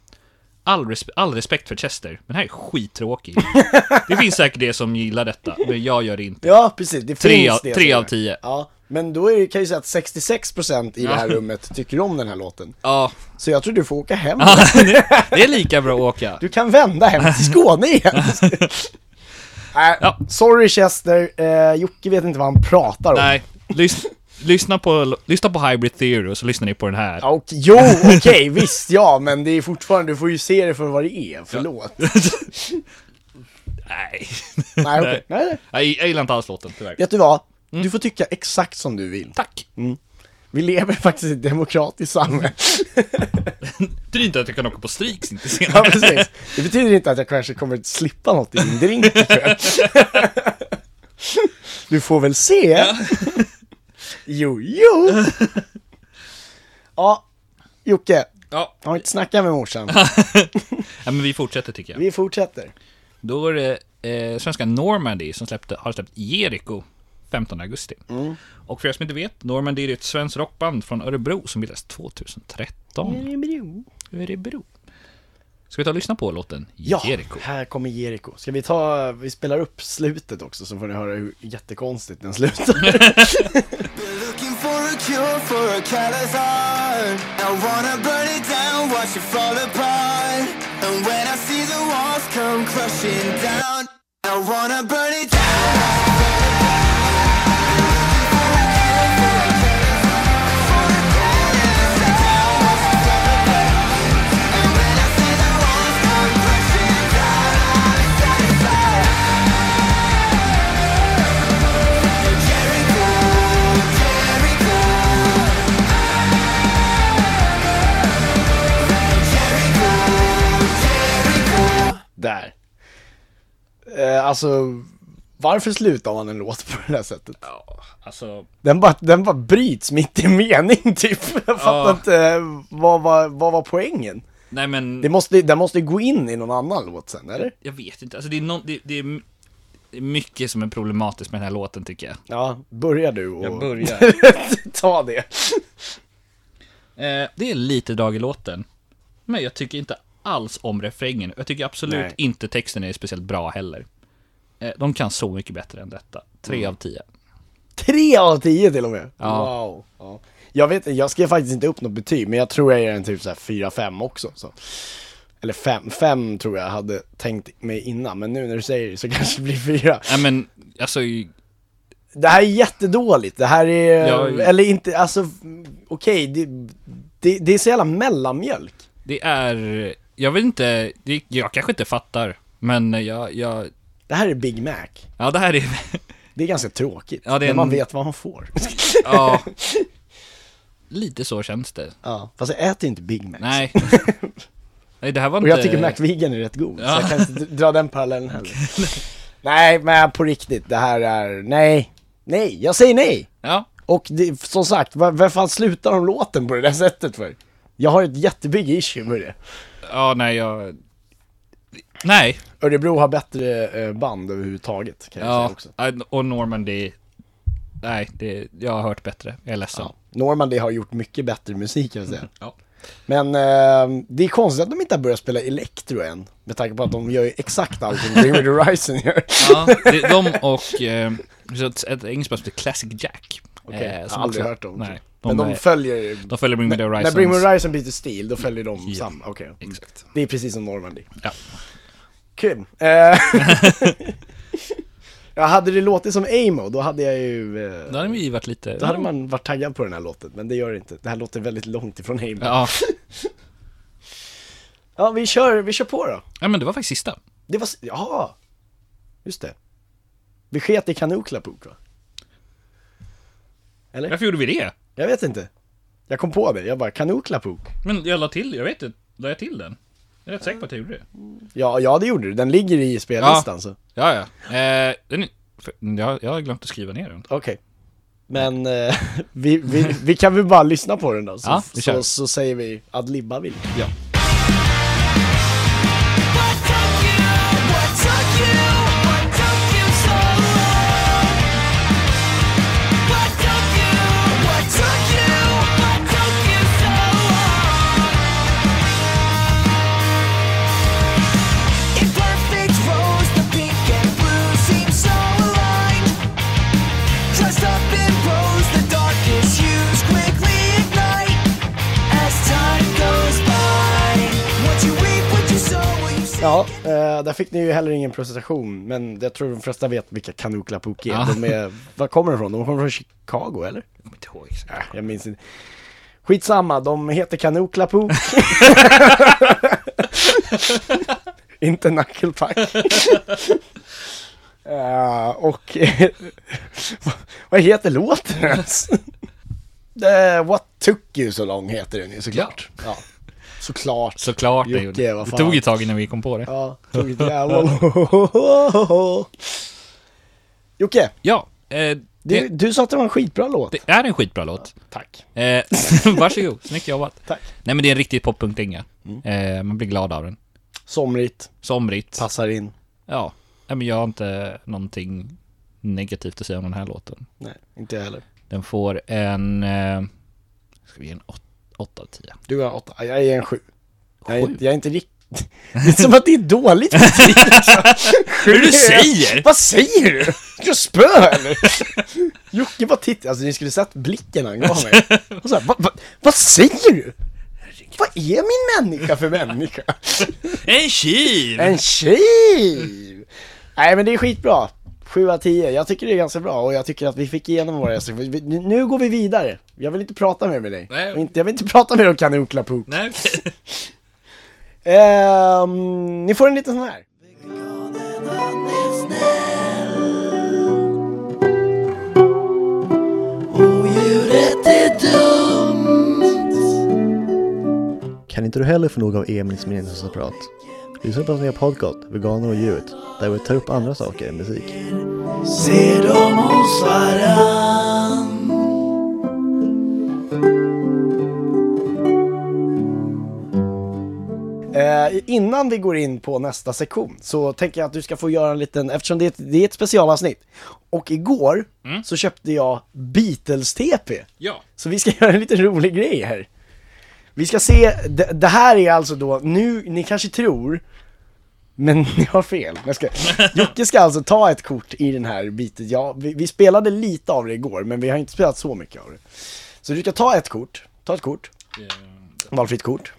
[SPEAKER 4] All, res- all respekt för Chester, men här är skittråkig. det finns säkert det som gillar detta, men jag gör det inte.
[SPEAKER 3] Ja, precis. Det
[SPEAKER 4] Tre
[SPEAKER 3] finns
[SPEAKER 4] av-
[SPEAKER 3] det.
[SPEAKER 4] tre
[SPEAKER 3] som
[SPEAKER 4] av
[SPEAKER 3] är.
[SPEAKER 4] tio.
[SPEAKER 3] Ja, men då är det, kan jag ju säga att 66% i det här
[SPEAKER 4] Ja.
[SPEAKER 3] rummet tycker om den här låten.
[SPEAKER 4] Ja,
[SPEAKER 3] Så jag tror du får åka hem.
[SPEAKER 4] det är lika bra att åka.
[SPEAKER 3] Du kan vända hem till Skåne igen. Nej,
[SPEAKER 4] Ja.
[SPEAKER 3] sorry Chester. Eh, Jocke vet inte vad han pratar om.
[SPEAKER 4] Nej, lys- lyssna, på, lyssna på Hybrid Theory och så lyssnar ni på den här.
[SPEAKER 3] Ja, Och, jo, okej, visst ja, men det är fortfarande, du får ju se det för vad det är, förlåt.
[SPEAKER 4] Nej.
[SPEAKER 3] Nej, okej. Nej, nej.
[SPEAKER 4] Jag, jag gillar inte alls låten tyvärr.
[SPEAKER 3] Vet du vad? Du får tycka exakt som du vill.
[SPEAKER 4] Mm. Tack!
[SPEAKER 3] Vi lever faktiskt i ett demokratiskt samhälle.
[SPEAKER 4] Det är inte att jag kan åka på Strix inte
[SPEAKER 3] Ja,
[SPEAKER 4] senare.
[SPEAKER 3] precis. Det betyder inte att jag kanske kommer att slippa något i din drink ikväll. Du får väl se. Jo, jo. Ja, Jocke.
[SPEAKER 4] Ja,
[SPEAKER 3] Har inte snackat med morsan.
[SPEAKER 4] ja, men vi fortsätter tycker jag.
[SPEAKER 3] Vi fortsätter.
[SPEAKER 4] Då var det eh, svenska Normandy som släppte, har släppt Jericho 15 augusti.
[SPEAKER 3] Mm.
[SPEAKER 4] Och för er som inte vet, Normandy är ett svenskt rockband från Örebro som bildades 2013. Örebro. Ska vi ta och lyssna på låten
[SPEAKER 3] Mm. Ja,
[SPEAKER 4] Jericho?
[SPEAKER 3] här kommer Jericho. Ska vi ta, vi spelar upp slutet också så får ni höra hur jättekonstigt den slutar.
[SPEAKER 5] Looking for a cure for a callous heart. I wanna burn it down, watch it fall apart. And when I see the walls come crushing down, I wanna burn it down.
[SPEAKER 3] Där. Eh, alltså, varför slutar man en låt på det här sättet?
[SPEAKER 4] Ja, alltså...
[SPEAKER 3] Den bara, den bara bryts mitt i mening typ. Jag fattar
[SPEAKER 4] Ja.
[SPEAKER 3] inte, eh, vad var, vad var poängen?
[SPEAKER 4] Nej men...
[SPEAKER 3] Det måste, den måste ju gå in i någon annan låt sen, eller?
[SPEAKER 4] Jag vet inte, alltså det är, nån- det, det är m- det är mycket som är problematiskt med den här låten tycker jag.
[SPEAKER 3] Ja, börjar du och...
[SPEAKER 4] börjar.
[SPEAKER 3] Ta det.
[SPEAKER 4] Eh, det är lite drag i låten. Men jag tycker inte alls om refrängen. Jag tycker absolut
[SPEAKER 3] Nej.
[SPEAKER 4] inte texten är speciellt bra heller. Eh, de kan så mycket bättre än detta. Tre
[SPEAKER 3] Mm.
[SPEAKER 4] av tio.
[SPEAKER 3] Tre av tio till och med.
[SPEAKER 4] Ja.
[SPEAKER 3] Wow. Ja. Jag vet jag skrev faktiskt inte upp något betyg, men jag tror jag ger den typ så här 4-5 också. Så. Eller 5, 5 tror jag hade tänkt mig innan, men nu när du säger det så kanske det blir 4.
[SPEAKER 4] Nej men, alltså, i-
[SPEAKER 3] Det här är jättedåligt, det här är,
[SPEAKER 4] Jag-
[SPEAKER 3] eller inte, alltså okej, det, det, det är så jävla mellanmjölk.
[SPEAKER 4] det är... Jag vet inte, det, jag kanske inte fattar. Men jag, jag...
[SPEAKER 3] Det här är Big Mac.
[SPEAKER 4] Ja, det här är...
[SPEAKER 3] Det är ganska tråkigt,
[SPEAKER 4] Ja, det är
[SPEAKER 3] men man
[SPEAKER 4] en-
[SPEAKER 3] vet vad man får.
[SPEAKER 4] ja. Lite så känns det.
[SPEAKER 3] ja. Fast jag äter inte Big Mac.
[SPEAKER 4] Nej. Nej, det här var
[SPEAKER 3] Och
[SPEAKER 4] inte...
[SPEAKER 3] jag tycker McVegan är rätt god, så
[SPEAKER 4] Ja.
[SPEAKER 3] jag kan inte dra den parallellen heller. nej, men på riktigt, det här är, nej, nej, jag säger nej!
[SPEAKER 4] Ja.
[SPEAKER 3] Och det, som sagt, va- vem fan slutar de låten på det där sättet för? Jag har ett jättebig issue med det.
[SPEAKER 4] Ja, nej, jag... Nej.
[SPEAKER 3] Örebro har bättre eh, band överhuvudtaget, kan jag säga
[SPEAKER 4] Ja,
[SPEAKER 3] också.
[SPEAKER 4] och Normandy... Nej, det, jag har hört bättre. Jag är ledsen.
[SPEAKER 3] Normandy har gjort mycket bättre musik, kan jag säga.
[SPEAKER 4] Ja.
[SPEAKER 3] Men eh, det är konstigt att de inte har börjat spela Electro än, med tanke på att de gör ju exakt allting Bring Me The Horizon gör.
[SPEAKER 4] Ja, det, de och... Eh, så ett, ett engelskt band som heter Classic Jack. eh,
[SPEAKER 3] Okej, jag har
[SPEAKER 4] som
[SPEAKER 3] aldrig
[SPEAKER 4] också-
[SPEAKER 3] hört dem.
[SPEAKER 4] Nej, de,
[SPEAKER 3] Men de,
[SPEAKER 4] är-
[SPEAKER 3] följer...
[SPEAKER 4] de följer Bring Me The
[SPEAKER 3] När
[SPEAKER 4] Horizons.
[SPEAKER 3] Bring Me Horizon byter stil, då följer de
[SPEAKER 4] Ja.
[SPEAKER 3] samma, okej. Mm.
[SPEAKER 4] Exakt.
[SPEAKER 3] Det är precis som Normandy.
[SPEAKER 4] Ja.
[SPEAKER 3] Kul. Eh, ja, hade det låtit som Amo, då hade jag ju... eh,
[SPEAKER 4] Då hade vi ju varit lite...
[SPEAKER 3] Då hade man varit taggad på den här låten, men det gör det inte. Det här låter väldigt långt ifrån Amo. Ja,
[SPEAKER 4] Ja.
[SPEAKER 3] vi, kör, vi kör på då.
[SPEAKER 4] ja, men det var faktiskt sista.
[SPEAKER 3] Det var... s- Ja, just det. Vi sket i Kanoklapuk va?
[SPEAKER 4] Varför gjorde vi det?
[SPEAKER 3] Jag vet inte. Jag kom på det, jag bara Kanoklapuk.
[SPEAKER 4] Men jag la till, jag vet inte, la jag till den? Jag är rätt säker på att jag gjorde det.
[SPEAKER 3] Ja, ja det gjorde du. Den ligger i spellistan så.
[SPEAKER 4] Ja, ja. Eh, den är, för, jag, jag har glömt att skriva ner den.
[SPEAKER 3] Okej. Men eh, vi, vi, vi kan väl bara lyssna på den då, så,
[SPEAKER 4] Ja, vi kör.
[SPEAKER 3] så, så säger vi ad libba vill.
[SPEAKER 4] Ja.
[SPEAKER 6] What took you? What took you? What took you so long? What took you? What took you? What took you so long?
[SPEAKER 8] Imperfect rose, the pink and blue seem so aligned. Dressed up in rose, the darkest hues quickly ignite. As time goes by, what you reap, what you sow, what you sow.
[SPEAKER 3] Ja, eh, där fick ni ju heller ingen presentation, men jag tror de flesta vet vilka Kanoklapuk är.
[SPEAKER 4] Ja.
[SPEAKER 3] De är, var kommer de ifrån? De kommer från Chicago eller?
[SPEAKER 4] Jag kommer inte ihåg exakt.
[SPEAKER 3] Äh, jag minns inte. Skitsamma, de heter Kanoklapuk. inte Knucklepack. Eh, och vad- vad heter låten ens? Eh, What took you so long heter den ju såklart. Ja. Såklart.
[SPEAKER 4] Såklart jag
[SPEAKER 3] Jocke,
[SPEAKER 4] gjorde det.
[SPEAKER 3] vad
[SPEAKER 4] Det
[SPEAKER 3] fan.
[SPEAKER 4] tog ett tag innan vi kom på det. Ja,
[SPEAKER 3] Ja, tog ett jävla... Jocke,
[SPEAKER 4] eh,
[SPEAKER 3] du,
[SPEAKER 4] det,
[SPEAKER 3] du sa att det var en skitbra låt.
[SPEAKER 4] det är en skitbra låt.
[SPEAKER 3] Tack.
[SPEAKER 4] Eh, varsågod, snyggt jobbat.
[SPEAKER 3] Tack. Mm.
[SPEAKER 4] Nej men det är en riktig poppunkdänga. Eh, man blir glad av den.
[SPEAKER 3] Somrigt,
[SPEAKER 4] Somrigt.
[SPEAKER 3] passar in.
[SPEAKER 4] Ja. Nej, men jag har inte någonting negativt att säga om den här låten.
[SPEAKER 3] Nej, inte jag heller.
[SPEAKER 4] Den får en... Eh, ska vi ge en 8 av 10?
[SPEAKER 3] Du har åtta, Ja, jag är en sju. Jag är,
[SPEAKER 4] Sju?
[SPEAKER 3] jag är inte riktigt... Det är som att det är dåligt betyg. Sju
[SPEAKER 4] du
[SPEAKER 3] är-
[SPEAKER 4] säger?
[SPEAKER 3] Vad säger du? Ska jag spöa eller? Jocke bara tittade, alltså ni skulle sett blicken han gav mig. Och så här, va, va, vad säger du? Vad är min människa för människa?
[SPEAKER 4] En tjuv!
[SPEAKER 3] En tjuv! Nej men det är skitbra. 7 av 10. Jag tycker det är ganska bra och jag tycker att vi fick igenom våra gäster. Vi- vi- Nu går vi vidare. Jag vill inte prata mer med dig.
[SPEAKER 4] Nej.
[SPEAKER 3] Och inte- Jag vill inte prata mer om Kanuklapuk.
[SPEAKER 4] Nej, okej.
[SPEAKER 3] Ehm, ni får en liten sån här.
[SPEAKER 9] Kan inte du heller få nog av Emils meningslösa prat? Lyssna på hans nya podcast, Veganer och djuret, där vi tar upp andra saker än musik.
[SPEAKER 3] Eh, innan vi går in på nästa sektion så tänker jag att du ska få göra en liten, eftersom det är ett, det är ett specialavsnitt. Och igår så köpte jag Beatles-TP.
[SPEAKER 4] Ja.
[SPEAKER 3] Så vi ska göra en liten rolig grej här. Vi ska se, det, det här är alltså då, nu, ni kanske tror, men ni har fel. Jag ska, Jocke ska alltså ta ett kort i den här biten. Ja, vi, vi spelade lite av det igår, men vi har inte spelat så mycket av det. Så du ska ta ett kort, ta ett kort, valfritt kort.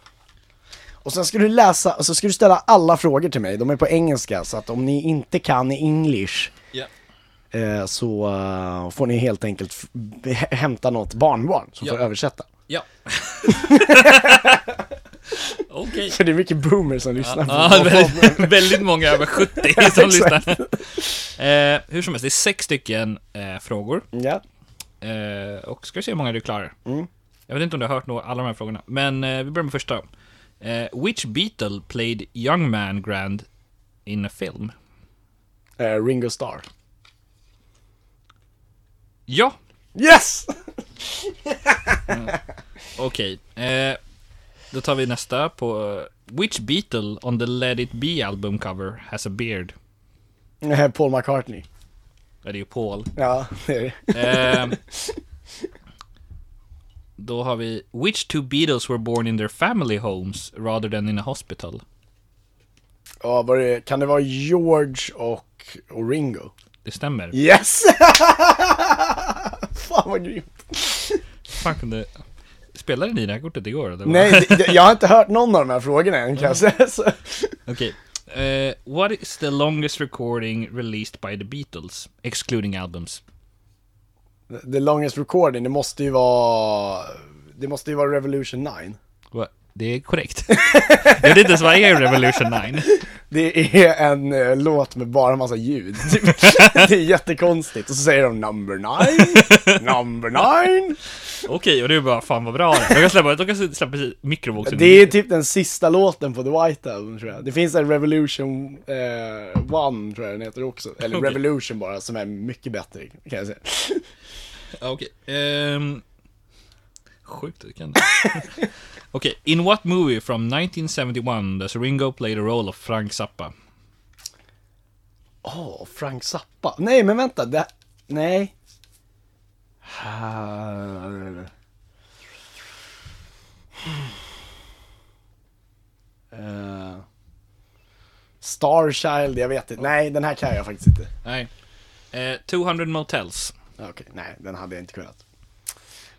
[SPEAKER 3] Och sen ska du läsa, och så ska du ställa alla frågor till mig, de är på engelska, så att om ni inte kan English
[SPEAKER 4] Ja.
[SPEAKER 3] eh, så eh, får ni helt enkelt f- hä- hämta något barnbarn som
[SPEAKER 4] Ja.
[SPEAKER 3] får översätta.
[SPEAKER 4] Ja. Okej.
[SPEAKER 3] För det är mycket boomers som lyssnar
[SPEAKER 4] Ja,
[SPEAKER 3] på podden.
[SPEAKER 4] väldigt, väldigt många över 70 som
[SPEAKER 3] exakt.
[SPEAKER 4] lyssnar. Eh, hur som helst, det är sex stycken eh, frågor.
[SPEAKER 3] Ja,
[SPEAKER 4] Eh, och ska vi se hur många du klarar. Jag vet inte om du har hört nå- alla de här frågorna, men eh, vi börjar med första. Eh, which Beatle played Young Man Grand in a film?
[SPEAKER 3] Eh, Ringo Starr.
[SPEAKER 4] Ja,
[SPEAKER 3] Yes!
[SPEAKER 4] okej. Eh, då tar vi nästa på... eh, which Beatle on the Let It Be album cover has a beard?
[SPEAKER 3] Eh, Paul McCartney.
[SPEAKER 4] Ja, det är ju Paul.
[SPEAKER 3] Ja, det är det.
[SPEAKER 4] Ehm, då har vi Which two Beatles were born in their family homes rather than in a hospital?
[SPEAKER 3] Ja, var det, kan det vara George och, och Ringo?
[SPEAKER 4] Det stämmer.
[SPEAKER 3] Yes! Fan vad grymt.
[SPEAKER 4] Fan kunde... Spelade ni det här kortet igår? eller vad? Mm.
[SPEAKER 3] Nej, det, det, jag har inte hört någon av de här frågorna än kan jag säga. Så.
[SPEAKER 4] Okej. Eh, what is the longest recording released by the Beatles? Excluding albums.
[SPEAKER 3] The longest recording, det måste ju vara... Det måste ju vara Revolution 9.
[SPEAKER 4] Va? Det är korrekt. jag vet inte ens vad är Revolution 9.
[SPEAKER 3] Det är en eh, låt med bara massa ljud, typ. Det är jättekonstigt. Och så säger de 'Number 9, Number 9'
[SPEAKER 4] Okej, och du bara fan vad bra det är. De kan släppa, de kan släppa precis mikrovågsugn.
[SPEAKER 3] Det är typ den sista låten på The White Album tror jag. Det finns en Revolution eh, One tror jag den heter också. Eller
[SPEAKER 4] Okej.
[SPEAKER 3] Revolution bara, som är mycket bättre kan jag säga.
[SPEAKER 4] Ja, Okej. ehm, sjukt du kan det. Okej, in what movie from 1971 does Ringo play the role of Frank Zappa?
[SPEAKER 3] Åh, Frank Zappa. Nej, men vänta. Det... Nej. Här. Eh, Starchild, jag vet inte. Nej, den här kan jag faktiskt inte.
[SPEAKER 4] Nej. Eh, 200 Motels.
[SPEAKER 3] Okej, nej, den hade jag inte kunnat.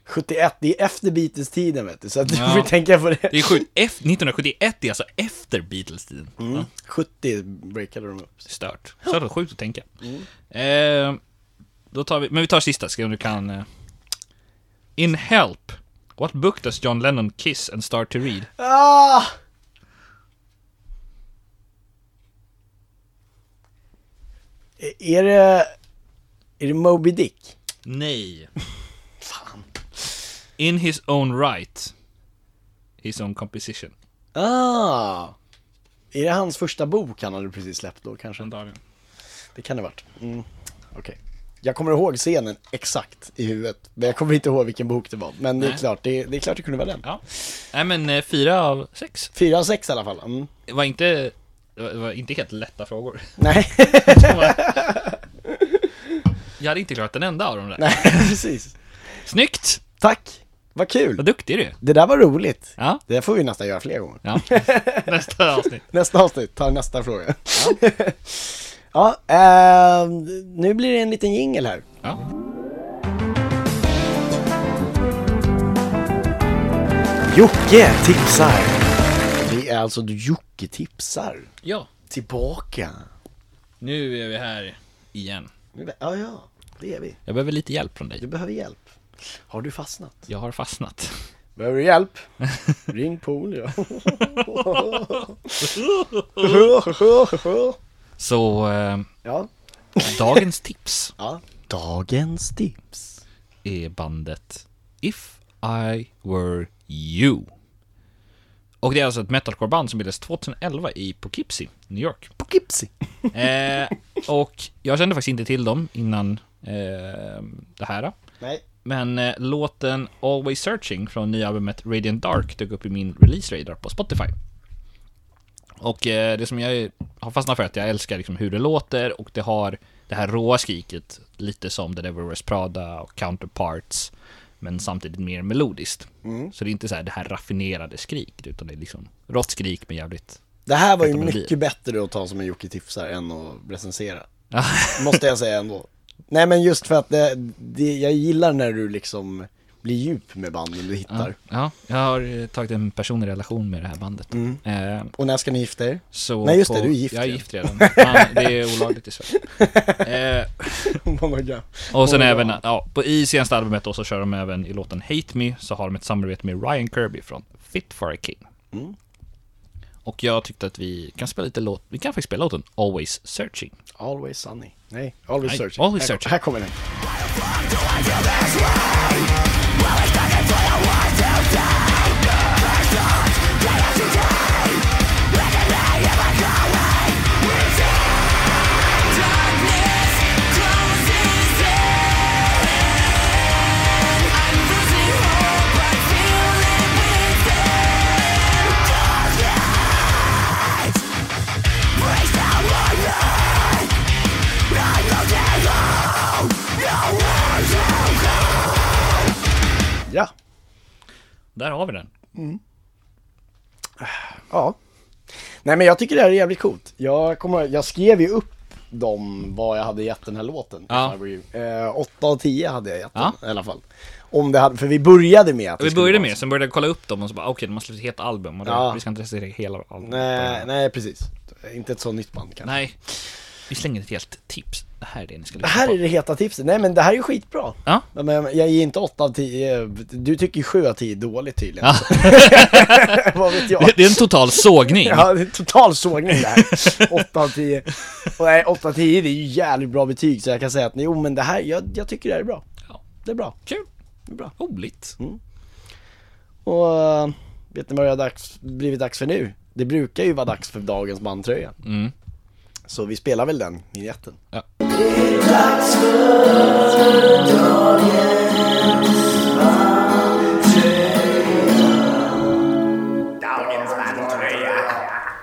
[SPEAKER 3] 71, det är efter Beatles-tiden vet du, så att du
[SPEAKER 4] Ja.
[SPEAKER 3] får tänka på det.
[SPEAKER 4] Det är sjukt. F- 1971 är alltså efter Beatles-tiden. Ja,
[SPEAKER 3] 70 breakade de upp.
[SPEAKER 4] stört. Så det är sjukt att tänka. Eh, då tar vi, men vi tar sista, ska vi om du kan... Eh. In Help, what book does John Lennon kiss and start to read?
[SPEAKER 3] Ah! E- Är det... Är det Moby Dick?
[SPEAKER 4] Nej. In his own right. His own composition.
[SPEAKER 3] Ah! Är det hans första bok han hade precis släppt då kanske? Det kan det varit. Mm. Okej. Jag kommer ihåg scenen exakt i huvudet, men jag kommer inte ihåg vilken bok det var. Men det är
[SPEAKER 4] Nej.
[SPEAKER 3] klart, det, det är klart det kunde vara den.
[SPEAKER 4] Ja. Nej men eh, fyra av sex.
[SPEAKER 3] Fyra av sex i alla fall. Mm.
[SPEAKER 4] Det var inte, det var- det var inte helt lätta frågor.
[SPEAKER 3] Nej,
[SPEAKER 4] Det var- Jag hade inte klarat en enda av dem där.
[SPEAKER 3] nej, precis.
[SPEAKER 4] Snyggt!
[SPEAKER 3] Tack, vad kul.
[SPEAKER 4] Vad duktig du är.
[SPEAKER 3] Det där var roligt.
[SPEAKER 4] Ja.
[SPEAKER 3] Det där får vi nästan göra fler gånger.
[SPEAKER 4] ja. Nästa avsnitt.
[SPEAKER 3] Nästa avsnitt, ta nästa fråga. Ja, ehm, nu blir det en liten jingel här.
[SPEAKER 4] Ja.
[SPEAKER 3] Jocke tipsar. Det är alltså Jocke tipsar.
[SPEAKER 4] ja,
[SPEAKER 3] Tillbaka.
[SPEAKER 4] nu är vi här igen.
[SPEAKER 3] Ja, ja, det är vi.
[SPEAKER 4] Jag behöver lite hjälp från
[SPEAKER 3] Du
[SPEAKER 4] dig.
[SPEAKER 3] behöver hjälp. Har du fastnat?
[SPEAKER 4] Jag har fastnat.
[SPEAKER 3] Behöver du hjälp? Ring Polio.
[SPEAKER 4] Så, eh,
[SPEAKER 3] ja,
[SPEAKER 4] dagens tips.
[SPEAKER 3] ja. Dagens tips.
[SPEAKER 4] är bandet If I Were You. Och det är alltså ett metalcoreband som bildades 2011 i Poughkeepsie, New York.
[SPEAKER 3] Poughkeepsie.
[SPEAKER 4] Eh, och jag kände faktiskt inte till dem innan eh, det här.
[SPEAKER 3] Nej.
[SPEAKER 4] Men eh, låten Always Searching från nya albumet Radiant Dark dök upp i min release-radar på Spotify. Och eh, det som jag har fastnat för är att jag älskar liksom hur det låter och det har det här råa skriket lite som The Devil Wears Prada och Counterparts men samtidigt mer melodiskt. Så det är inte så här det här raffinerade skriket utan det är liksom rått skrik med jävligt...
[SPEAKER 3] Det här var ju
[SPEAKER 4] Vänta, men det-
[SPEAKER 3] mycket bättre att ta som en Jocke tipsar än att recensera. Måste jag säga ändå. Nej men just för att det, det, jag gillar när du liksom blir djup med banden du hittar.
[SPEAKER 4] Ja, jag har eh, tagit en personlig relation med det här bandet. Eh,
[SPEAKER 3] Och när ska ni gifta er?
[SPEAKER 4] så
[SPEAKER 3] Nej, just det,
[SPEAKER 4] på-
[SPEAKER 3] du är gift
[SPEAKER 4] Jag är
[SPEAKER 3] redan.
[SPEAKER 4] gift redan. Ja, det är olagligt i Sverige. Eh,
[SPEAKER 3] Monogram.
[SPEAKER 4] Och sen
[SPEAKER 3] Oj,
[SPEAKER 4] även,
[SPEAKER 3] ja.
[SPEAKER 4] ja, på, i senaste albumet då så kör de även i låten Hate Me så har de ett samarbete med Ryan Kirby från Fit for a King.
[SPEAKER 3] Mm.
[SPEAKER 4] Och jag tyckte att vi kan spela lite låt, vi kan faktiskt spela låten Always Searching.
[SPEAKER 3] Always sunny. Nej, always
[SPEAKER 4] Nej,
[SPEAKER 3] searching.
[SPEAKER 4] Always
[SPEAKER 3] här,
[SPEAKER 4] Searching.
[SPEAKER 3] Här kommer den. Ja.
[SPEAKER 4] Där har vi den.
[SPEAKER 3] Ja. Nej men jag tycker det här är jävligt coolt. Jag, kommer, jag skrev ju upp dem vad jag hade gett den här låten.
[SPEAKER 4] Ja.
[SPEAKER 3] Eh, 8 av 10 hade jag gett
[SPEAKER 4] Ja.
[SPEAKER 3] den i alla fall. Om det hade, för vi började med att det
[SPEAKER 4] Vi
[SPEAKER 3] skulle
[SPEAKER 4] började
[SPEAKER 3] vara
[SPEAKER 4] med, sen började jag kolla upp dem och så bara okej, de har släppt ett helt album och då,
[SPEAKER 3] Ja.
[SPEAKER 4] vi ska inte recensera hela albumet.
[SPEAKER 3] Nej, nej precis. Inte ett så nytt band kanske.
[SPEAKER 4] Nej, vi slänger ett helt tips. Det här är det ni ska
[SPEAKER 3] Det
[SPEAKER 4] lyssna
[SPEAKER 3] här
[SPEAKER 4] på.
[SPEAKER 3] är det heta tipset. Nej men det här är ju skitbra.
[SPEAKER 4] Ja.
[SPEAKER 3] Men jag jag ger inte 8 av 10. Du tycker ju 7 av 10 är dåligt tydligen.
[SPEAKER 4] Ja.
[SPEAKER 3] Vad vet jag?
[SPEAKER 4] Det, det är en total sågning.
[SPEAKER 3] Ja, det är total sågning det här. 8 av 10. Och nej, 8 av 10 det är ju jävligt bra betyg så jag kan säga att jo men det här, jag, jag tycker det här är bra.
[SPEAKER 4] Ja.
[SPEAKER 3] Det är bra.
[SPEAKER 4] Kul.
[SPEAKER 3] Det är bra.
[SPEAKER 4] Roligt.
[SPEAKER 3] Och eh, vet ni vad det har dags, blivit dags för nu? Det brukar ju vara dags för dagens bandtröja.
[SPEAKER 4] Mm.
[SPEAKER 3] Så vi spelar väl den vignetten.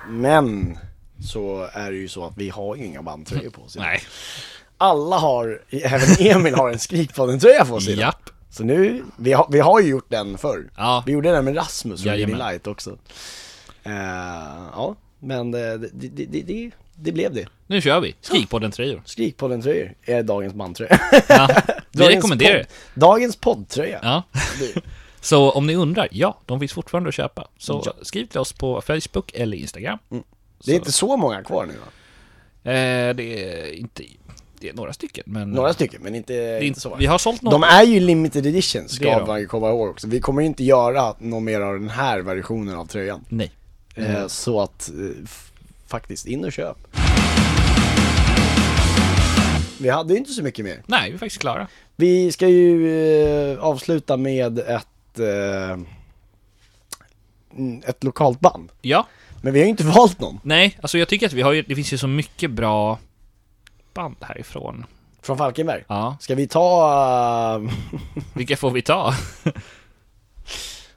[SPEAKER 3] Men så är det ju så att vi har ju inga bandtröjor på oss. idag.
[SPEAKER 4] Nej.
[SPEAKER 3] Alla har, även Emil har en Skrikpodden-tröja på sig. idag.
[SPEAKER 4] Japp.
[SPEAKER 3] Så nu, vi har, vi har ju gjort den förr.
[SPEAKER 4] Ja.
[SPEAKER 3] Vi gjorde den med Rasmus och Jimmy
[SPEAKER 4] Jajamän.
[SPEAKER 3] Light också. Eh, ja, men det, det, det, det- det, det blev det.
[SPEAKER 4] Nu kör vi. Skrik på den tröjor.
[SPEAKER 3] Skrikpodden-tröjor är dagens bandtröja.
[SPEAKER 4] Ja. Vi
[SPEAKER 3] Dagens
[SPEAKER 4] rekommenderar
[SPEAKER 3] podd-
[SPEAKER 4] det.
[SPEAKER 3] Dagens poddtröja.
[SPEAKER 4] Ja. Så om ni undrar, ja, de finns fortfarande att köpa. Så skriv till oss på Facebook eller Instagram.
[SPEAKER 3] det är inte så många kvar nu va?
[SPEAKER 4] Eh, det är inte... Det är några stycken, men...
[SPEAKER 3] Några stycken, men inte,
[SPEAKER 4] det är
[SPEAKER 3] inte
[SPEAKER 4] inte
[SPEAKER 3] så
[SPEAKER 4] så.
[SPEAKER 3] många.
[SPEAKER 4] Vi har sålt några.
[SPEAKER 3] De är ju limited edition,
[SPEAKER 4] Det är
[SPEAKER 3] ska
[SPEAKER 4] de.
[SPEAKER 3] man ju komma ihåg också. Vi kommer ju inte göra någon mer av den här versionen av tröjan.
[SPEAKER 4] Nej.
[SPEAKER 3] Eh, så att, eh, f- faktiskt, in och köp. Vi hade ju inte så mycket mer.
[SPEAKER 4] Nej, vi är faktiskt klara.
[SPEAKER 3] Vi ska ju eh, avsluta med ett, eh, mm, ett lokalt band.
[SPEAKER 4] Ja.
[SPEAKER 3] Men vi har ju inte valt någon
[SPEAKER 4] Nej, alltså jag tycker att vi har ju... Det finns ju så mycket bra band härifrån.
[SPEAKER 3] från Falkenberg.
[SPEAKER 4] Ja.
[SPEAKER 3] Ska vi ta, uh,
[SPEAKER 4] Vilka får vi ta?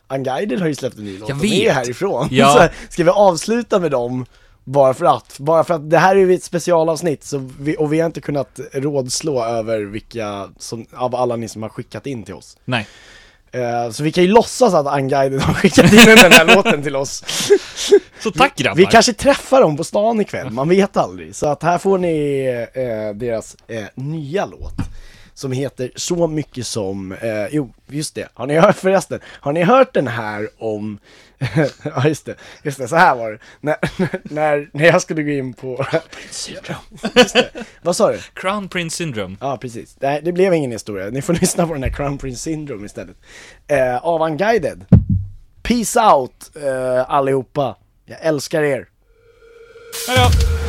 [SPEAKER 3] Unguided har ju släppt en ny låt,
[SPEAKER 4] Jag
[SPEAKER 3] de är ju
[SPEAKER 4] vet.
[SPEAKER 3] härifrån.
[SPEAKER 4] Ja.
[SPEAKER 3] Så ska vi avsluta med dem, bara för att? Bara för att det här är ju ett specialavsnitt så vi, och vi har inte kunnat rådslå över vilka som, av alla ni som har skickat in till oss.
[SPEAKER 4] Nej.
[SPEAKER 3] Eh, så vi kan ju låtsas att Unguided har skickat in den här låten till oss.
[SPEAKER 4] Så tack grabbar!
[SPEAKER 3] Vi kanske träffar dem på stan ikväll, man vet aldrig. Så att här får ni eh, deras eh, nya låt. Som heter Så mycket som, eh, jo just det, har ni hört förresten, har ni hört den här om, ja just det, just det, så här var det. När, när, när jag skulle gå in på, just det. vad sa du?
[SPEAKER 4] Crown Prince Syndrome.
[SPEAKER 3] Ja, precis. Nej, det blev ingen historia. Ni får lyssna på den här Crown Prince Syndrome istället. Eh, av Unguided. Peace out eh, allihopa. Jag älskar er.
[SPEAKER 4] Hej då!